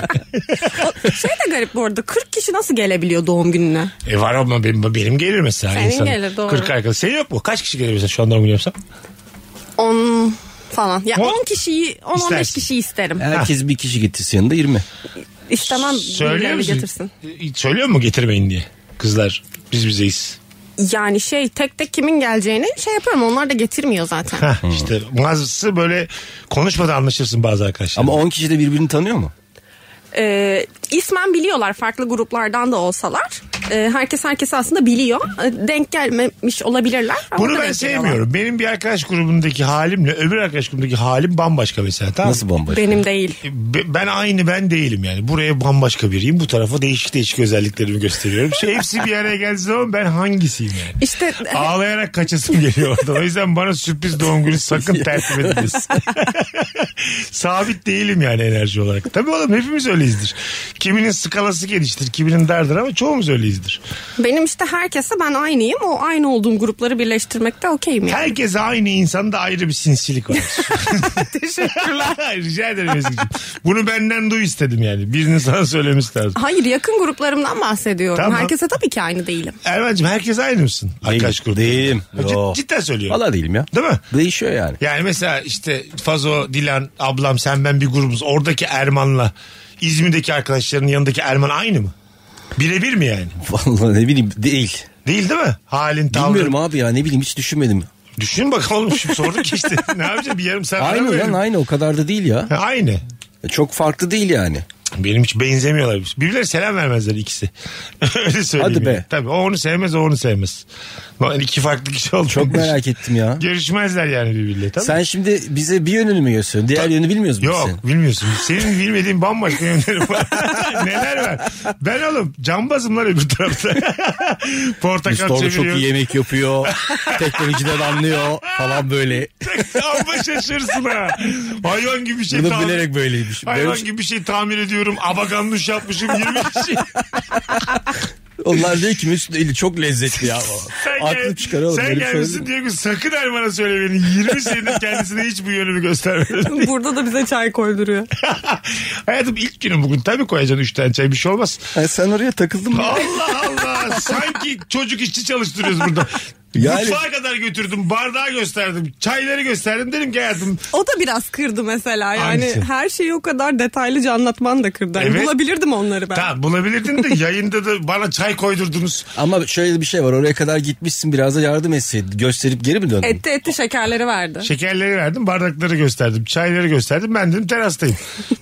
Speaker 5: Şey de garip bu arada 40 kişi nasıl gelebiliyor doğum gününe?
Speaker 3: E var ama benim, benim gelir mesela.
Speaker 5: Senin
Speaker 3: insan.
Speaker 5: gelir, doğru.
Speaker 3: 40 arkadaş. Senin yok mu? Kaç kişi gelir mesela şu an doğum günü yapsam?
Speaker 5: 10 falan. Ya
Speaker 3: On-
Speaker 5: 10 kişiyi 10-15
Speaker 3: İstersin.
Speaker 5: kişiyi isterim.
Speaker 3: Ah.
Speaker 4: Herkes bir kişi getirsin yanında 20.
Speaker 5: İstemem
Speaker 3: Söylüyor
Speaker 5: birilerini
Speaker 3: musun?
Speaker 5: getirsin.
Speaker 3: E, Söylüyor mu getirmeyin diye? Kızlar biz bizeyiz.
Speaker 5: Yani şey tek tek kimin geleceğini şey yapıyorum onlar da getirmiyor zaten.
Speaker 3: Hah,
Speaker 4: Hmm.
Speaker 3: işte bazısı böyle konuşmadan anlaşırsın bazı arkadaşlar.
Speaker 4: Ama 10 kişi de birbirini tanıyor mu?
Speaker 5: Ee, ismen biliyorlar farklı gruplardan da olsalar. e, herkes herkesi aslında biliyor. E, denk gelmemiş olabilirler. ama
Speaker 3: Bunu
Speaker 5: orada
Speaker 3: ben
Speaker 5: denk geliyorlar.
Speaker 3: sevmiyorum. Benim bir arkadaş grubundaki halimle öbür arkadaş grubundaki halim bambaşka mesela. Tamam. mı? E,
Speaker 4: Nasıl bomba?
Speaker 5: Benim değil.
Speaker 3: Be- Ben aynı ben değilim yani. Buraya bambaşka biriyim. Bu tarafa değişik değişik özelliklerimi gösteriyorum. Şey, hepsi bir araya geldiği zaman ben hangisiyim yani?
Speaker 5: İşte
Speaker 3: Ağlayarak kaçasım geliyor orada. O yüzden bana sürpriz doğum günü sakın tertip ediniz. Sabit değilim yani enerji olarak. Tabii oğlum hepimiz öyleyizdir. Kiminin skalası geniştir, kiminin dardır ama çoğumuz öyleyizdir.
Speaker 5: benim işte herkese ben aynıyım. O aynı olduğum grupları birleştirmekte okeyim yani.
Speaker 3: Herkese aynı insanda ayrı bir sinsilik var. Teşekkürler. Rica ederim Ezgi'ciğim. Bunu benden duy istedim yani. Birinin sana söylemesi lazım.
Speaker 5: Hayır yakın gruplarımdan bahsediyorum.
Speaker 3: Tamam.
Speaker 5: Herkese tabii ki aynı değilim.
Speaker 3: Erman'cığım herkes aynı mısın? Arkadaş grubu.
Speaker 4: Değilim.
Speaker 3: Cid-
Speaker 4: Yok.
Speaker 3: cidden söylüyorum.
Speaker 4: Valla değilim ya.
Speaker 3: Değil mi?
Speaker 4: Değişiyor yani.
Speaker 3: Yani mesela işte Fazo, Dilan, ablam, sen ben bir grubuz. Oradaki Erman'la İzmir'deki arkadaşlarının yanındaki Erman aynı mı? Birebir mi yani?
Speaker 4: Vallahi ne bileyim değil.
Speaker 3: Değil değil mi? Halin, tavrın.
Speaker 4: Bilmiyorum abi ya ne bileyim hiç düşünmedim.
Speaker 3: Düşün bakalım oğlum şimdi sorduk işte. ne yapacağım bir yarım saat. ara
Speaker 4: Aynı lan
Speaker 3: verelim.
Speaker 4: aynı o kadar da değil ya.
Speaker 3: Ha, Aynı.
Speaker 4: Çok farklı değil yani.
Speaker 3: Benim hiç benzemiyorlar. Birbirlerine selam vermezler ikisi. Öyle söyleyeyim.
Speaker 4: Hadi be.
Speaker 3: yani. Tabii o onu sevmez o onu sevmez. Yani iki farklı kişi oldu.
Speaker 4: Çok merak ettim ya.
Speaker 3: Görüşmezler yani birbirleriyle. Tabii.
Speaker 4: Sen şimdi bize bir yönünü mü gösteriyorsun? Diğer yönü bilmiyoruz mu
Speaker 3: Yok
Speaker 4: sen?
Speaker 3: bilmiyorsun. Senin bilmediğin bambaşka yönlerim var. Neler var? Ben oğlum cambazımlar öbür tarafta. Portakal
Speaker 4: Müstorlu çok iyi
Speaker 3: çeviriyor.
Speaker 4: yemek yapıyor. Teknolojiden anlıyor falan böyle.
Speaker 3: Amma şaşırsın ha. Hayvan gibi bir şey.
Speaker 4: Bunu
Speaker 3: tahmin-
Speaker 4: bilerek böyleymiş.
Speaker 3: Hayvan
Speaker 4: Böyle-
Speaker 3: gibi bir şey tamir ediyorum. Abaganduş yapmışım 20 kişi.
Speaker 4: Onlar diyor ki Mesut eli çok lezzetli ya.
Speaker 3: Sen, gel,
Speaker 4: Aklım çıkar oğlum.
Speaker 3: sen
Speaker 4: böyle bir şey olur
Speaker 3: gelmişsin
Speaker 4: mu?
Speaker 3: diye ki sakın Erman'a söyle beni. 20 senedir kendisine hiç bu yönümü göstermedi.
Speaker 5: Burada da bize çay koyduruyor.
Speaker 3: Hayatım ilk günüm bugün. Tabii koyacaksın 3 tane çay bir şey olmaz.
Speaker 4: Ha, sen oraya takıldın mı?
Speaker 3: Allah Allah sanki çocuk işçi çalıştırıyoruz burada.
Speaker 4: Yani-
Speaker 3: Mutfağa kadar götürdüm, bardağı gösterdim, çayları gösterdim. Dedim ki hayatım
Speaker 5: O da biraz kırdı mesela. Yani
Speaker 3: Hangisi?
Speaker 5: her şeyi o kadar detaylıca anlatman da kırdı. Hani
Speaker 3: Evet.
Speaker 5: Bulabilirdim onları ben.
Speaker 3: tamam bulabilirdin de yayında da bana çay koydurdunuz.
Speaker 4: Ama şöyle bir şey var. Oraya kadar gitmişsin biraz da yardım etseydin. Gösterip geri mi döndün?
Speaker 5: Etti etti şekerleri verdi.
Speaker 3: Şekerleri verdim, bardakları gösterdim, çayları gösterdim. Ben dedim terastayım.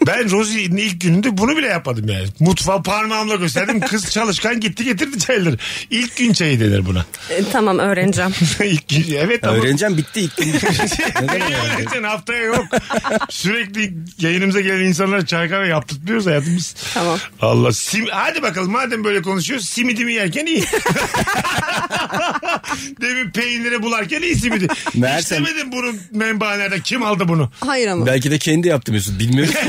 Speaker 3: ben Rosie'nin ilk gününde bunu bile yapmadım yani. Mutfağı parmağımla gösterdim. Kız çalışkan gitti getirdi çayları. İlk gün çayı denir buna.
Speaker 5: E, tamam öğreneceğim.
Speaker 3: ilk gün, evet ama
Speaker 4: Öğreneceğim bitti ilk gün. Neden
Speaker 3: Neyi
Speaker 4: yani?
Speaker 3: öğreneceksin? haftaya yok. Sürekli yayınımıza gelen insanlara çay kahve yaptırtmıyoruz hayatım biz.
Speaker 5: Tamam.
Speaker 3: Allah sim hadi bakalım madem böyle konuşuyoruz simidimi yerken iyi. Demin peynire bularken iyi simidi.
Speaker 4: Meğersem-
Speaker 3: İstemedim bunu menbaelerde kim aldı bunu?
Speaker 5: Hayır ama.
Speaker 4: Belki de kendi yaptı Mesut. Bilmiyoruz ki.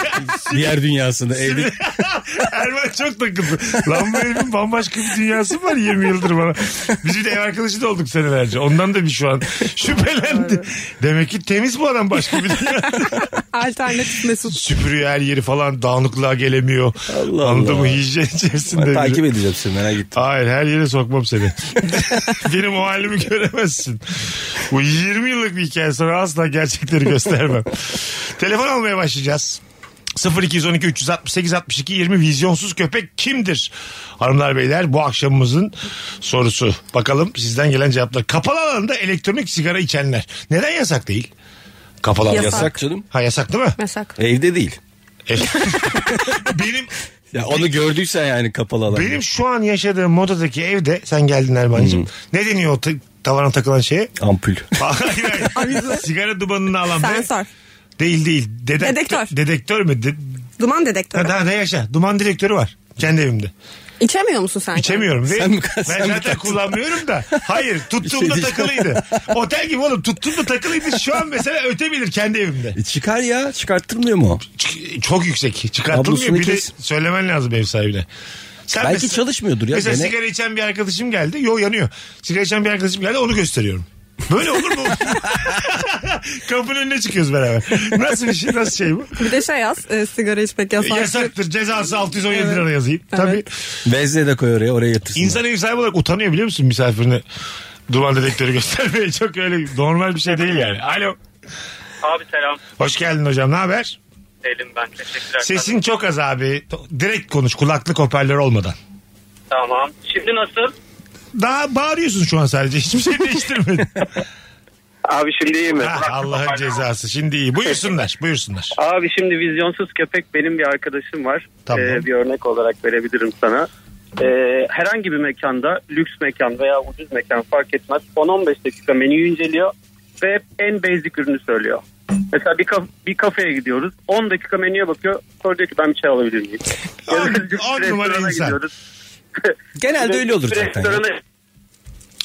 Speaker 4: Diğer dünyasında evde.
Speaker 3: Erman çok takıldı. Lan bu herifin bambaşka bir dünyası var 20 yıldır bana. Biz bir de ev arkadaşı da olduk senelerce. Ondan da bir şu an şüphelendi. Demek ki temiz bu adam başka bir dünya.
Speaker 5: Alternatif Mesut.
Speaker 3: süpürüyor her yeri falan dağınıklığa gelemiyor.
Speaker 4: Allah
Speaker 3: Anladın mı?
Speaker 4: Allah.
Speaker 3: Hijyen içerisinde.
Speaker 4: Ben
Speaker 3: biri.
Speaker 4: takip edeceğim seni merak ettim.
Speaker 3: Hayır her yere sokmam seni. Benim o halimi göremezsin. Bu 20 yıllık bir hikaye sonra asla gerçekleri göstermem. Telefon almaya başlayacağız. 0212 368 62 20 vizyonsuz köpek kimdir? Hanımlar beyler bu akşamımızın sorusu. Bakalım sizden gelen cevaplar. Kapalı alanda elektronik sigara içenler. Neden yasak değil? Kapalı alan.
Speaker 5: Yasak.
Speaker 4: Yasak canım.
Speaker 3: Ha yasak değil mi?
Speaker 5: Yasak.
Speaker 4: Evde değil.
Speaker 3: Benim
Speaker 4: Ya onu gördüysen yani kapalı alanda.
Speaker 3: Benim şu an yaşadığım modadaki evde sen geldin Erman'cığım. Ne deniyor o t- tavana takılan şeye?
Speaker 4: Ampul.
Speaker 3: Hayır, hayır. Sigara dumanını alan be.
Speaker 5: Sensör.
Speaker 3: Değil değil. Dedek-
Speaker 5: Dedektör.
Speaker 3: Dedektör mü? De-
Speaker 5: Duman
Speaker 3: ha,
Speaker 5: dedektörü.
Speaker 3: daha ne yaşa? Duman dedektörü var. Kendi evimde.
Speaker 5: İçemiyor musun sen?
Speaker 3: İçemiyorum. Ve
Speaker 4: Sen mi-
Speaker 3: ben
Speaker 4: sen mi
Speaker 3: zaten
Speaker 4: taktın?
Speaker 3: kullanmıyorum da. Hayır tuttuğumda
Speaker 4: Bir şey
Speaker 3: takılıydı. Otel gibi oğlum tuttuğumda takılıydı. Şu an mesela ötebilir kendi evimde.
Speaker 4: E çıkar ya çıkarttırmıyor mu? o?
Speaker 3: Ç- Çok yüksek. Çıkartılmıyor.
Speaker 4: Kablosunu
Speaker 3: Bir de
Speaker 4: kes.
Speaker 3: söylemen lazım ev sahibine. Sen
Speaker 4: Belki
Speaker 3: mesela-
Speaker 4: çalışmıyordur ya.
Speaker 3: Mesela
Speaker 4: Gene-
Speaker 3: sigara içen bir arkadaşım geldi. Yo yanıyor. Sigara içen bir arkadaşım geldi onu gösteriyorum. Böyle olur mu? Kapının önüne çıkıyoruz beraber. Nasıl bir şey? Nasıl şey bu?
Speaker 5: Bir de şey yaz. e, sigara içmek yasak.
Speaker 3: Yasaktır. Cezası 617 lira yazayım. Tabii.
Speaker 4: Bezle de koy oraya oraya yatırsın.
Speaker 3: İnsan ev sahibi olarak utanıyor biliyor musun misafirine? Duman dedektörü göstermeye çok öyle normal bir şey değil yani. Alo.
Speaker 7: Abi selam.
Speaker 3: Hoş geldin hocam. Ne haber?
Speaker 7: Elim ben. Teşekkürler.
Speaker 3: Sesin çok az abi. Direkt konuş kulaklık hoparlör olmadan.
Speaker 7: Tamam. Şimdi nasıl?
Speaker 3: Daha bağırıyorsun şu an sadece. Hiçbir şey değiştirmedin.
Speaker 7: Abi şimdi iyi mi?
Speaker 3: Ha, Ah, Allah'ın cezası. Şimdi iyi. Buyursunlar. Buyursunlar.
Speaker 7: Abi şimdi vizyonsuz köpek benim bir arkadaşım var.
Speaker 3: Tamam.
Speaker 7: Ee, bir örnek olarak verebilirim sana. e, herhangi bir mekanda lüks mekan veya ucuz mekan fark etmez 10-15 dakika menüyü inceliyor ve hep en basic ürünü söylüyor. Mesela bir, kaf- bir kafeye gidiyoruz 10 dakika menüye bakıyor sonra diyor ki ben bir şey alabilir miyim? Ya da
Speaker 3: On-
Speaker 7: lüks
Speaker 3: on numara
Speaker 7: restorana
Speaker 3: insan.
Speaker 7: gidiyoruz.
Speaker 4: Genelde öyle olur
Speaker 7: Lüks
Speaker 4: zaten. ya.
Speaker 7: restorana-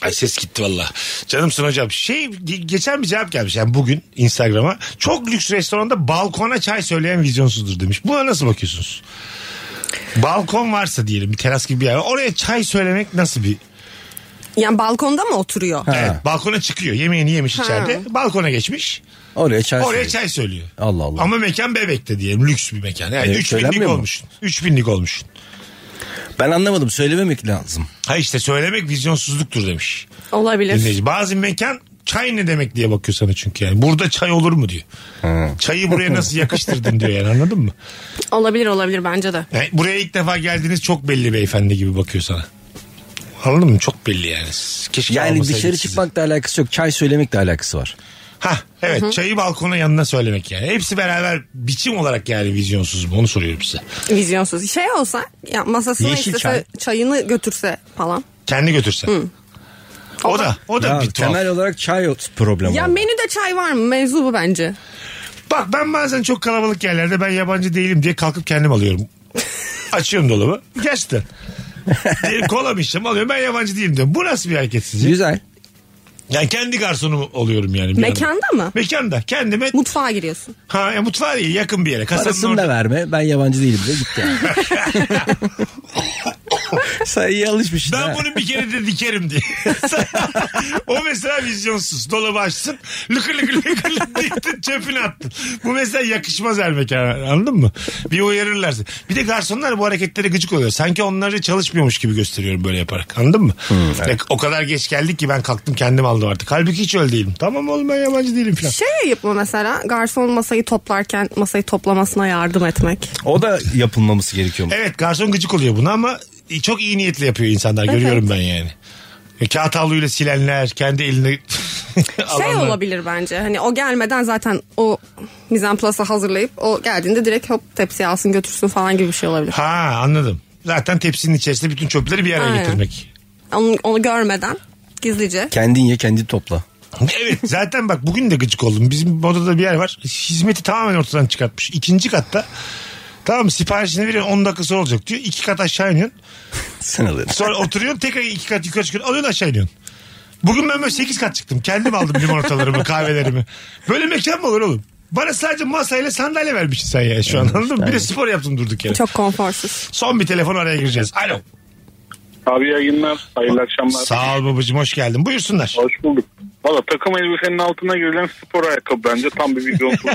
Speaker 3: Ay ses gitti valla. Canımsın hocam. Şey ge- geçen bir cevap gelmiş yani bugün Instagram'a. Çok lüks restoranda balkona çay söyleyen vizyonsuzdur demiş. Buna nasıl bakıyorsunuz? Balkon varsa diyelim bir teras gibi bir yer. var. Oraya çay söylemek nasıl bir?
Speaker 5: Yani balkonda mı oturuyor?
Speaker 3: Evet, balkona çıkıyor. Yemeğini yemiş
Speaker 5: Ha.
Speaker 3: içeride. Balkona geçmiş.
Speaker 4: Oraya çay
Speaker 3: Oraya
Speaker 4: söyle.
Speaker 3: çay söylüyor.
Speaker 4: şey. Allah Allah.
Speaker 3: Ama mekan bebekte diyelim. Lüks bir mekan. Yani
Speaker 4: Evet,
Speaker 3: 3000'lik
Speaker 4: söylenmiyor mu?
Speaker 3: olmuşsun. 3000'lik olmuşsun.
Speaker 4: Ben anlamadım söylememek lazım.
Speaker 3: Ha işte söylemek vizyonsuzluktur demiş.
Speaker 5: Olabilir.
Speaker 3: Dinleyici. Bazı mekan çay ne demek diye bakıyor sana çünkü yani. Burada çay olur mu diyor. Çayı buraya nasıl yakıştırdın diyor yani anladın mı?
Speaker 5: Olabilir olabilir bence de.
Speaker 3: Yani buraya ilk defa geldiğiniz çok belli beyefendi gibi bakıyor sana. Anladın mı? Çok belli yani. Keşke
Speaker 4: Yani
Speaker 3: almasaydık
Speaker 4: dışarı
Speaker 3: sizi.
Speaker 4: çıkmakla alakası yok. Çay söylemekle alakası var.
Speaker 3: Ha evet çayı balkona yanına söylemek yani. Hepsi beraber biçim olarak yani vizyonsuz mu onu soruyorum size.
Speaker 5: Vizyonsuz. Şey olsa ya masasına
Speaker 4: Yeşil
Speaker 5: istese
Speaker 4: çay.
Speaker 5: çayını götürse falan.
Speaker 3: Kendi götürsen. O da o da
Speaker 4: Ya,
Speaker 3: bir tuhaf.
Speaker 4: temel olarak çay problemi.
Speaker 5: Ya
Speaker 4: oldu.
Speaker 5: menüde çay var mı? Mevzu bu bence.
Speaker 3: Bak ben bazen çok kalabalık yerlerde ben yabancı değilim diye kalkıp kendim alıyorum. Açıyorum dolabı. Gerçekten. Diyelim kola mı içtim alıyorum ben yabancı değilim diyorum. Bu nasıl bir hareket sizce?
Speaker 4: Güzel.
Speaker 3: Yani kendi garsonum oluyorum yani. bir anda.
Speaker 5: Mekanda mı?
Speaker 3: Mekanda kendime
Speaker 5: Mutfağa giriyorsun.
Speaker 3: ha, ya mutfağa değil yakın bir yere. Kasanın
Speaker 4: Parasını
Speaker 3: orada.
Speaker 4: da verme. Ben yabancı değilim de git yani. Sen iyi alışmışsın
Speaker 3: Ben
Speaker 4: ha.
Speaker 3: bunu bir kere de dikerim diye. o mesela vizyonsuz. Dolabı açsın. Lıkır lıkır lıkır lıkır diktin çöpünü attın. Bu mesela yakışmaz her mekana. Anladın mı? Bir uyarırlar. seni. Bir de garsonlar bu hareketlere gıcık oluyor. Sanki onları çalışmıyormuş gibi gösteriyorum böyle yaparak. Anladın mı? Ya O kadar geç geldik ki ben kalktım kendim aldım artık. Halbuki hiç öyle değilim. Tamam oğlum ben yabancı değilim falan.
Speaker 5: Şey ayıp mı mesela garson masayı toplarken masayı toplamasına yardım etmek.
Speaker 4: O da yapılmaması gerekiyor. mu?
Speaker 3: Evet garson gıcık oluyor buna ama çok iyi niyetle yapıyor insanlar. Görüyorum ben yani. Kağıt havluyla silenler, kendi elini
Speaker 5: Şey
Speaker 3: alanlar.
Speaker 5: olabilir bence hani o gelmeden zaten o mizan plasa hazırlayıp o geldiğinde direkt hop tepsiye alsın götürsün falan gibi bir şey olabilir.
Speaker 3: Ha anladım. Zaten tepsinin içerisinde bütün çöpleri bir araya
Speaker 5: Aynen.
Speaker 3: getirmek.
Speaker 5: Onu, onu görmeden gizlice.
Speaker 4: Kendin ye kendin topla.
Speaker 3: Evet zaten bak bugün de gıcık oldum. Bizim odada bir yer var. Hizmeti tamamen ortadan çıkartmış. İkinci katta Tamam mı? siparişini veriyorsun 10 dakika sonra olacak diyor. İki kat aşağı iniyorsun.
Speaker 4: Sen alıyorsun.
Speaker 3: Sonra oturuyorsun tekrar iki kat yukarı çıkıyorsun. Alıyorsun aşağı iniyorsun. Bugün ben böyle 8 kat çıktım. Kendim aldım limonatalarımı kahvelerimi. Böyle mekan mı olur oğlum? Bana sadece masayla sandalye vermişsin sen ya şu an anladın mı? Bir de spor yaptım durduk yere.
Speaker 5: Çok konforsuz.
Speaker 3: Son bir telefon araya gireceğiz. Alo.
Speaker 8: Abi yayınlar. Hayırlı akşamlar.
Speaker 3: Sağ ol babacığım hoş geldin. Buyursunlar.
Speaker 8: Hoş bulduk. Valla takım elbisenin altına girilen spor ayakkabı bence tam bir vizyonsuzluk.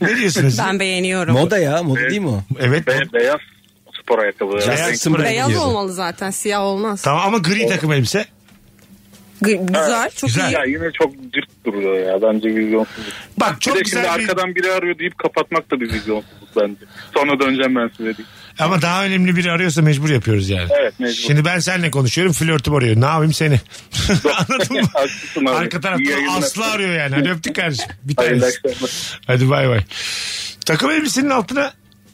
Speaker 3: ne diyorsunuz?
Speaker 5: Ben beğeniyorum.
Speaker 4: Moda ya moda değil mi o?
Speaker 3: Evet.
Speaker 8: Be- beyaz spor ayakkabı.
Speaker 4: Justin
Speaker 3: Beyaz
Speaker 4: Timberlake
Speaker 5: Beyaz
Speaker 4: giyiyordu.
Speaker 5: olmalı zaten siyah olmaz.
Speaker 3: Tamam ama gri takım elbise.
Speaker 5: Gı- Güzel çok
Speaker 3: Güzel.
Speaker 5: iyi.
Speaker 8: Ya yine çok cırt duruyor ya. Bence vizyonsuzluk.
Speaker 3: Bak çok
Speaker 8: bir de
Speaker 3: güzel
Speaker 8: şimdi
Speaker 3: bir...
Speaker 8: arkadan biri arıyor deyip kapatmak da bir vizyonsuzluk bence. Sonra döneceğim ben size deyip.
Speaker 3: Ama daha önemli biri arıyorsa mecbur yapıyoruz yani.
Speaker 8: Evet, mecbur.
Speaker 3: Şimdi ben seninle konuşuyorum flörtüm arıyor. Ne yapayım seni? Anladın mı?
Speaker 8: Haklısın abi.
Speaker 3: Arka tarafta
Speaker 8: İyi yayınlar.
Speaker 3: Aslı arıyor yani. Hadi öptük kardeşim. Bir
Speaker 8: Hayırlı
Speaker 3: tanesi.
Speaker 8: akşamlar.
Speaker 3: Hadi bay bay. Takım elbisenin altına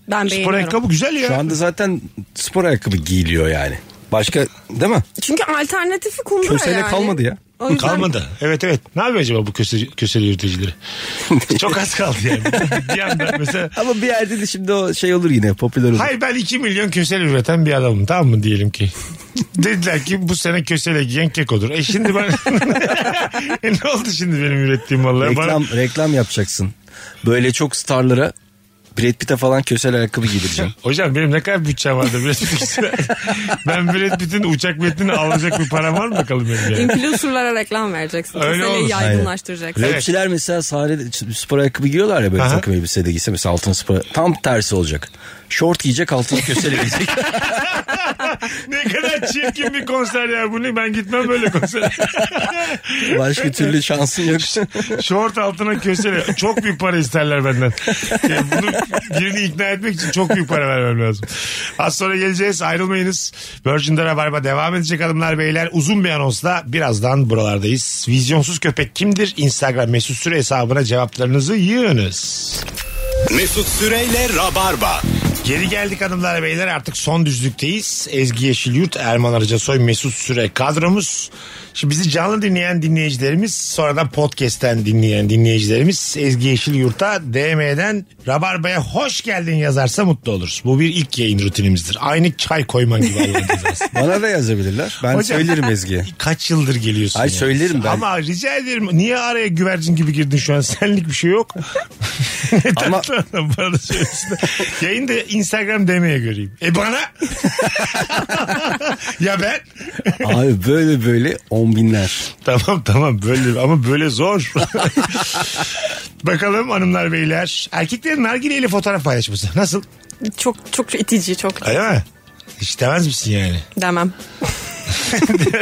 Speaker 5: Ben
Speaker 3: spor
Speaker 5: beğeniyorum.
Speaker 3: ayakkabı güzel ya.
Speaker 4: Şu anda zaten spor ayakkabı giyiliyor yani. Başka değil mi?
Speaker 5: Çünkü alternatifi kundura
Speaker 4: Köseyle
Speaker 5: yani.
Speaker 4: kalmadı ya.
Speaker 5: O yüzden-
Speaker 3: Kalmadı. Evet evet. Ne yapıyor acaba bu köse, köseli yürütücüleri? Çok az kaldı yani. bir anda mesela
Speaker 4: Ama bir yerde de şimdi o şey olur yine popüler olur.
Speaker 3: Hayır ben 2 milyon kösel üreten bir adamım tamam mı diyelim ki. Dediler ki bu sene kösele giyen kekodur. E şimdi ben... E ne oldu şimdi benim ürettiğim vallahi? Bana-
Speaker 4: reklam reklam yapacaksın. Böyle çok starlara Brad Pitt'e falan kösel ayakkabı giydireceğim.
Speaker 3: Hocam benim ne kadar bütçem vardı Brad Pitt'in? ben Brad Pitt'in uçak metnini alacak bir param var mı bakalım benim yani?
Speaker 5: Influencerlara reklam vereceksin.
Speaker 3: Öyle
Speaker 5: Köseyle
Speaker 3: olur.
Speaker 5: yaygınlaştıracaksın.
Speaker 3: Evet.
Speaker 4: Rapçiler mesela sahnede spor ayakkabı giyiyorlar ya böyle
Speaker 3: Aha.
Speaker 4: takım elbise de giyse mesela altın spor tam tersi olacak. Şort giyecek altına kösel giyecek.
Speaker 3: ne kadar çirkin bir konser ya bu ne? Ben gitmem böyle konsere.
Speaker 4: Başka türlü şansın yok.
Speaker 3: Şort altına kösele. Çok büyük para isterler benden. Yani bunu birini ikna etmek için çok büyük para vermem lazım. Az sonra geleceğiz. Ayrılmayınız. Virgin'de Rabarba devam edecek hanımlar beyler. Uzun bir anonsla birazdan buralardayız. Vizyonsuz köpek kimdir? Instagram mesut süre hesabına cevaplarınızı yığınız.
Speaker 2: Mesut Süreyle Rabarba.
Speaker 3: Geri geldik hanımlar beyler artık son düzlükteyiz. Ezgi Yeşilyurt, Erman Arıcasoy, Mesut Süre kadromuz. Şimdi bizi canlı dinleyen dinleyicilerimiz sonradan podcast'ten dinleyen dinleyicilerimiz Ezgi Yeşilyurt'a DM'den Rabarba'ya hoş geldin yazarsa mutlu oluruz. Bu bir ilk yayın rutinimizdir. Aynı çay koyman gibi Allah'ın cezası.
Speaker 4: Bana da yazabilirler. Ben
Speaker 3: Hocam-
Speaker 4: söylerim Ezgi'ye.
Speaker 3: Kaç yıldır geliyorsun?
Speaker 4: Ay
Speaker 3: ya?
Speaker 4: söylerim ben.
Speaker 3: Ama rica ederim niye araya güvercin gibi girdin şu an senlik bir şey yok. ne
Speaker 4: Ama-
Speaker 3: tatlı adam bana da söylesin. Yayında Instagram demeye göreyim. E bana? ya ben?
Speaker 4: Abi böyle böyle on binler.
Speaker 3: Tamam tamam böyle ama böyle zor. Bakalım hanımlar beyler. Erkeklerin nargileyle fotoğraf paylaşması nasıl?
Speaker 5: Çok çok itici çok
Speaker 3: Öyle mi? İstemez misin yani?
Speaker 5: demem.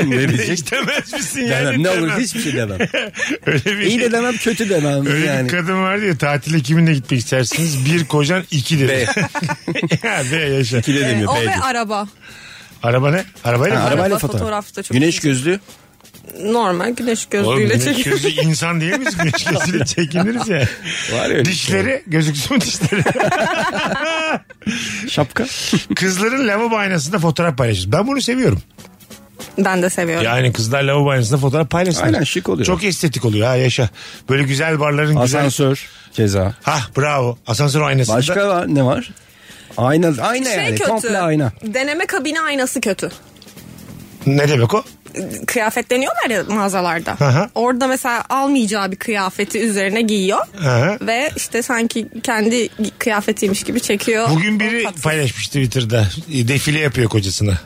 Speaker 4: ne diyecek?
Speaker 3: İstemez misin yani?
Speaker 4: Demem. Ne olur
Speaker 3: Demem.
Speaker 4: hiçbir şey demem.
Speaker 3: Öyle bir şey
Speaker 4: İyi de demem kötü demem
Speaker 3: Öyle bir
Speaker 4: yani.
Speaker 3: kadın vardı ya tatile kiminle gitmek istersiniz? Bir kocan iki dedi. ya be yaşa.
Speaker 4: İki de demiyor.
Speaker 5: E, o
Speaker 4: bey
Speaker 5: ve
Speaker 4: diyor.
Speaker 5: araba.
Speaker 3: Araba ne?
Speaker 4: Ha,
Speaker 3: Arabayla mı?
Speaker 5: araba
Speaker 4: arabayla
Speaker 5: fotoğraf
Speaker 4: fotoğraf.
Speaker 5: da çok
Speaker 4: Güneş
Speaker 5: iyi.
Speaker 4: gözlü.
Speaker 5: Normal güneş
Speaker 3: Oğlum
Speaker 5: gözlüğüyle
Speaker 3: güneş
Speaker 5: çekiyor.
Speaker 3: gözü insan değil miyiz? Güneş gözüyle çekiniriz ya.
Speaker 4: Var ya. şey.
Speaker 3: Dişleri gözüksün mü dişleri.
Speaker 4: Şapka.
Speaker 3: Kızların lavabo aynasında fotoğraf paylaşır. Ben bunu seviyorum.
Speaker 5: Ben de seviyorum.
Speaker 3: Yani kızlar lavabo aynasında fotoğraf paylaşır.
Speaker 4: Aynen, şık oluyor.
Speaker 3: Çok estetik oluyor ha yaşa. Böyle güzel barların güzel.
Speaker 4: Asansör. Ceza.
Speaker 3: Ha bravo. Asansör aynasında.
Speaker 4: Başka var- ne var? Ayna, ayna
Speaker 5: Şey
Speaker 4: yani.
Speaker 5: kötü.
Speaker 4: Komple ayna.
Speaker 5: Deneme kabini aynası kötü.
Speaker 3: Ne demek o?
Speaker 5: Kıyafetleniyorlar ya mağazalarda.
Speaker 3: hı.
Speaker 5: Orada mesela almayacağı bir kıyafeti üzerine giyiyor.
Speaker 3: hı.
Speaker 5: Ve işte sanki kendi kıyafetiymiş gibi çekiyor.
Speaker 3: Bugün
Speaker 5: O
Speaker 3: biri
Speaker 5: tatsız.
Speaker 3: paylaşmış Twitter'da. E, Defile yapıyor kocasına.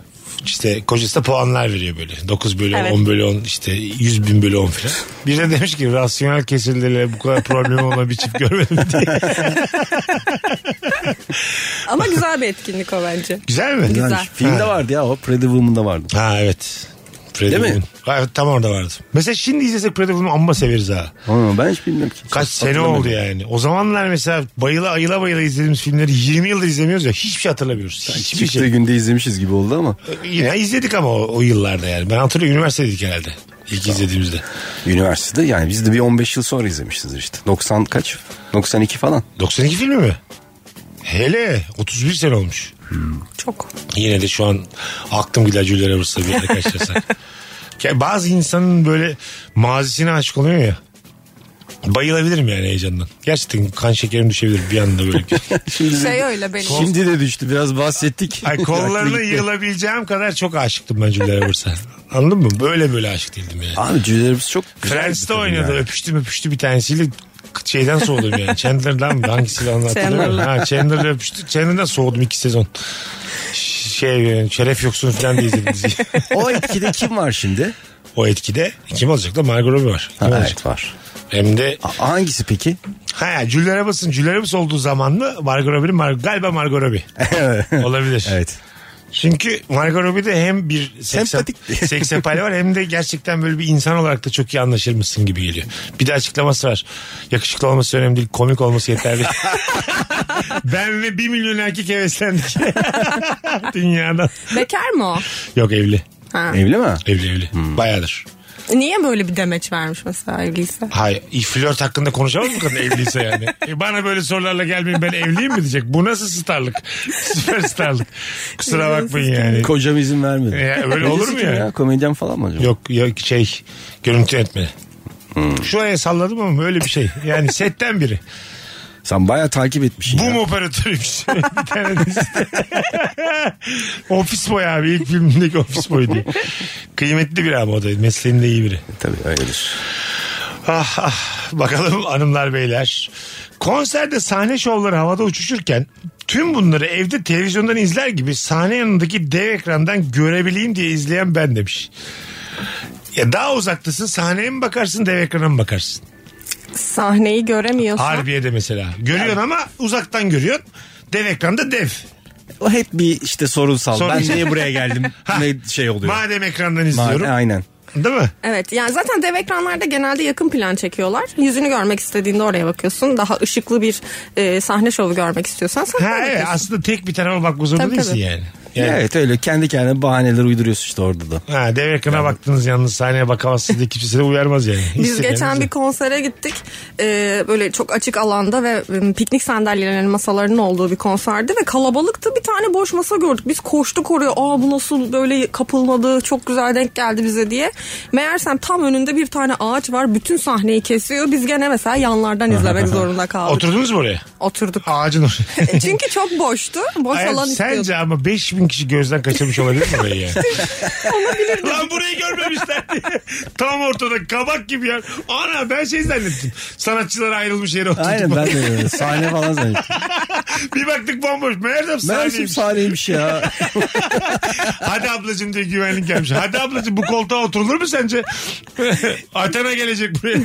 Speaker 3: İşte kocası da puanlar veriyor böyle. 9 bölü
Speaker 5: Evet.
Speaker 3: 10 bölü 10 işte 100 bin bölü 10 filan. Biri de demiş ki rasyonel kesildiler bu kadar problem olan bir çift görmedim diye.
Speaker 5: Ama güzel bir etkinlik o bence.
Speaker 3: Güzel mi?
Speaker 5: Güzel.
Speaker 4: Yani filmde
Speaker 3: Ha.
Speaker 4: vardı ya o. Pretty Woman'da vardı.
Speaker 3: Ha evet. Pretty
Speaker 4: Değil mi?
Speaker 3: Woman. Ha, evet, tam orada vardı. Mesela şimdi izlesek Pretty Woman'ı amma severiz ha.
Speaker 4: Ama ben hiç bilmiyorum ki.
Speaker 3: Kaç sene oldu yani. O zamanlar mesela bayıla ayıla bayıla izlediğimiz filmleri 20 yıldır izlemiyoruz ya. Hiçbir şey hatırlamıyoruz. Hiçbir
Speaker 4: Hiçbir
Speaker 3: şey.
Speaker 4: günde izlemişiz gibi oldu ama.
Speaker 3: Yine izledik ama o, o yıllarda yani. Ben hatırlıyorum üniversitedeydik herhalde. İlk izlediğimizde.
Speaker 4: Üniversitede yani biz de bir 15 yıl sonra izlemişizdir işte. 90 kaç? 92 falan.
Speaker 3: 92 filmi mi? Hele 31 sene olmuş.
Speaker 5: Çok.
Speaker 3: Yine de şu an aklım gidacıyla arası bir yerde karşılasak. Ya bazı insanın böyle mazisine aşık oluyor ya. Bayılabilirim yani heyecandan. Gerçekten kan şekerim düşebilir bir anda böyle.
Speaker 4: Şimdi,
Speaker 5: Şey öyle benim.
Speaker 4: Şimdi de düştü biraz bahsettik.
Speaker 3: Ay kollarına
Speaker 4: Aklı gitti.
Speaker 3: yığılabileceğim kadar çok aşıktım ben Julia Roberts'a. Anladın mı? Böyle böyle aşık değildim yani.
Speaker 4: Abi cücelerimiz çok güzel bir
Speaker 3: Friends'te
Speaker 4: kadın
Speaker 3: oynadı.
Speaker 4: yani.
Speaker 3: Öpüştüm öpüştü bir tanesiyle şeyden soğudum yani. Chandler'dan mı? Hangisiyle anlatıyorum?
Speaker 5: Chandler'la.
Speaker 3: Ha, Chandler'la öpüştü. Chandler'dan soğudum iki sezon. Ş- Şey şeref yoksun falan diye izledim diziyi.
Speaker 4: O etkide kim var şimdi?
Speaker 3: O etkide kim olacak da Margot Robbie var. Kim
Speaker 4: Ha,
Speaker 3: olacak?
Speaker 4: evet var.
Speaker 3: Hem de
Speaker 4: A- hangisi peki?
Speaker 3: ha Julia Roberts'ın Julia Roberts olduğu zamanlı Margot Robbie'nin Mar- galiba Margot Robbie olabilir.
Speaker 4: Evet.
Speaker 3: Çünkü Margot Robbie de hem bir
Speaker 4: Sempatik.
Speaker 3: seksap- seksapal var hem de gerçekten böyle bir insan olarak da çok iyi anlaşır mısın gibi geliyor. Bir de açıklaması var. Yakışıklı olması önemli değil komik olması yeterli. ben ve bir milyon erkek heveslendik. Dünyadan.
Speaker 5: Bekar mı o?
Speaker 3: Yok evli.
Speaker 5: Ha.
Speaker 4: Evli mi?
Speaker 3: Evli evli. Bayağıdır.
Speaker 5: Niye böyle bir demeç vermiş mesela evliyse?
Speaker 3: Hayır. i- Flört hakkında konuşamaz mı kadın evliyse yani? E bana böyle sorularla gelmeyin ben evliyim mi diyecek. Bu nasıl starlık? Süper starlık. Kusura bakmayın yani.
Speaker 4: Kocam izin vermedi.
Speaker 3: Ya, öyle olur mu
Speaker 4: Kocası kim
Speaker 3: ya?
Speaker 4: Komedyen falan mı acaba?
Speaker 3: Yok yok şey görüntü yönetmeni. Şu aya salladım ama öyle bir şey. Yani setten biri.
Speaker 4: Sen bayağı takip etmişsin.
Speaker 3: Boom
Speaker 4: ya.
Speaker 3: operatörüymüş. bir tane dizide. ofis boy abi ilk filmindeki ofis boy diye. Kıymetli bir abi o da mesleğinde iyi biri.
Speaker 4: Tabii öyledir.
Speaker 3: Ah, ah. Bakalım hanımlar beyler. Konserde sahne şovları havada uçuşurken tüm bunları evde televizyondan izler gibi sahne yanındaki dev ekrandan görebileyim diye izleyen ben demiş. Ya daha uzaktasın sahneye mi bakarsın dev ekrana mı bakarsın?
Speaker 5: Sahneyi göremiyorsa.
Speaker 3: Harbiye'de mesela. Görüyorsun ama uzaktan görüyorsun. Dev ekranda dev.
Speaker 4: O hep bir işte sorunsal.
Speaker 3: Sorun-
Speaker 4: Ben niye buraya geldim? ne şey oluyor?
Speaker 3: Madem ekrandan izliyorum.
Speaker 4: Madem, aynen.
Speaker 3: Değil mi?
Speaker 5: Evet yani zaten dev ekranlarda genelde yakın plan çekiyorlar. Yüzünü görmek istediğinde oraya bakıyorsun. Daha ışıklı bir e, sahne şovu görmek istiyorsan
Speaker 3: Ha,
Speaker 5: sahneye
Speaker 3: evet.
Speaker 5: bakıyorsun.
Speaker 3: Aslında tek bir tarafa bakmak zorunda
Speaker 5: Tabii,
Speaker 3: değilsin
Speaker 5: tabii.
Speaker 3: yani. Yani-
Speaker 4: Evet öyle kendi kendine bahaneler uyduruyorsun işte orada da.
Speaker 3: Ha, dev yakına baktınız yalnız sahneye bakamazsınız diye kimse size uyarmaz yani.
Speaker 5: Biz geçen bir konsere gittik. Ee, böyle çok açık alanda ve e, piknik sandalyelerinin masalarının olduğu bir konserdi ve kalabalıktı. Bir tane boş masa gördük. Biz koştuk oraya. Aa bu nasıl böyle kapılmadı. Çok güzel denk geldi bize diye. Meğersem tam önünde bir tane ağaç var. Bütün sahneyi kesiyor. Biz gene mesela yanlardan izlemek zorunda kaldık.
Speaker 3: Oturdunuz mu oraya?
Speaker 5: Oturduk.
Speaker 3: Ağacın oraya.
Speaker 5: E, Çünkü çok boştu. Boş
Speaker 3: Hayır,
Speaker 5: alan istiyorduk.
Speaker 3: sence ama 5000 kişi gözden kaçırmış olabilir mi orayı yani? Lan burayı görmemişler diye. Tam ortada kabak gibi ya. Ana ben şey zannettim. Sanatçılara ayrılmış yere oturduk.
Speaker 4: Aynen ben de öyle. Sahne falan zannettim.
Speaker 3: bir baktık bomboş. Meğersem
Speaker 4: Mersin
Speaker 3: sahneymiş.
Speaker 4: sahneymiş ya.
Speaker 3: Hadi ablacım diye güvenlik gelmiş. Hadi ablacım bu koltuğa oturulur mu sence? Athena gelecek buraya.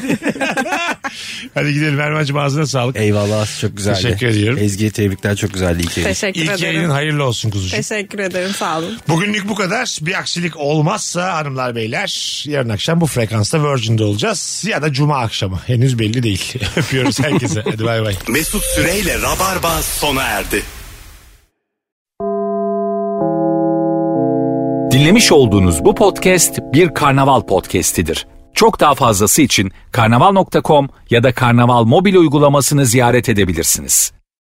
Speaker 3: Hadi gidelim Erman'cığım ağzına sağlık.
Speaker 4: Eyvallah çok güzeldi.
Speaker 3: Teşekkür ediyorum.
Speaker 4: Ezgi'ye tebrikler çok güzeldi ilk yayın.
Speaker 5: Teşekkür
Speaker 3: İlk
Speaker 5: ederim.
Speaker 3: yayının hayırlı olsun kuzucuğum.
Speaker 5: Teşekkür ederim sağ olun.
Speaker 3: Bugünlük bu kadar. Bir aksilik olmazsa hanımlar beyler yarın akşam bu frekansta Virgin'de olacağız. Ya da cuma akşamı. Henüz belli değil. Öpüyoruz herkese. Hadi bay bay.
Speaker 2: Mesut Süreyle Rabarba sona erdi.
Speaker 1: Dinlemiş olduğunuz bu podcast bir karnaval podcastidir. Çok daha fazlası için karnaval.com ya da karnaval mobil uygulamasını ziyaret edebilirsiniz.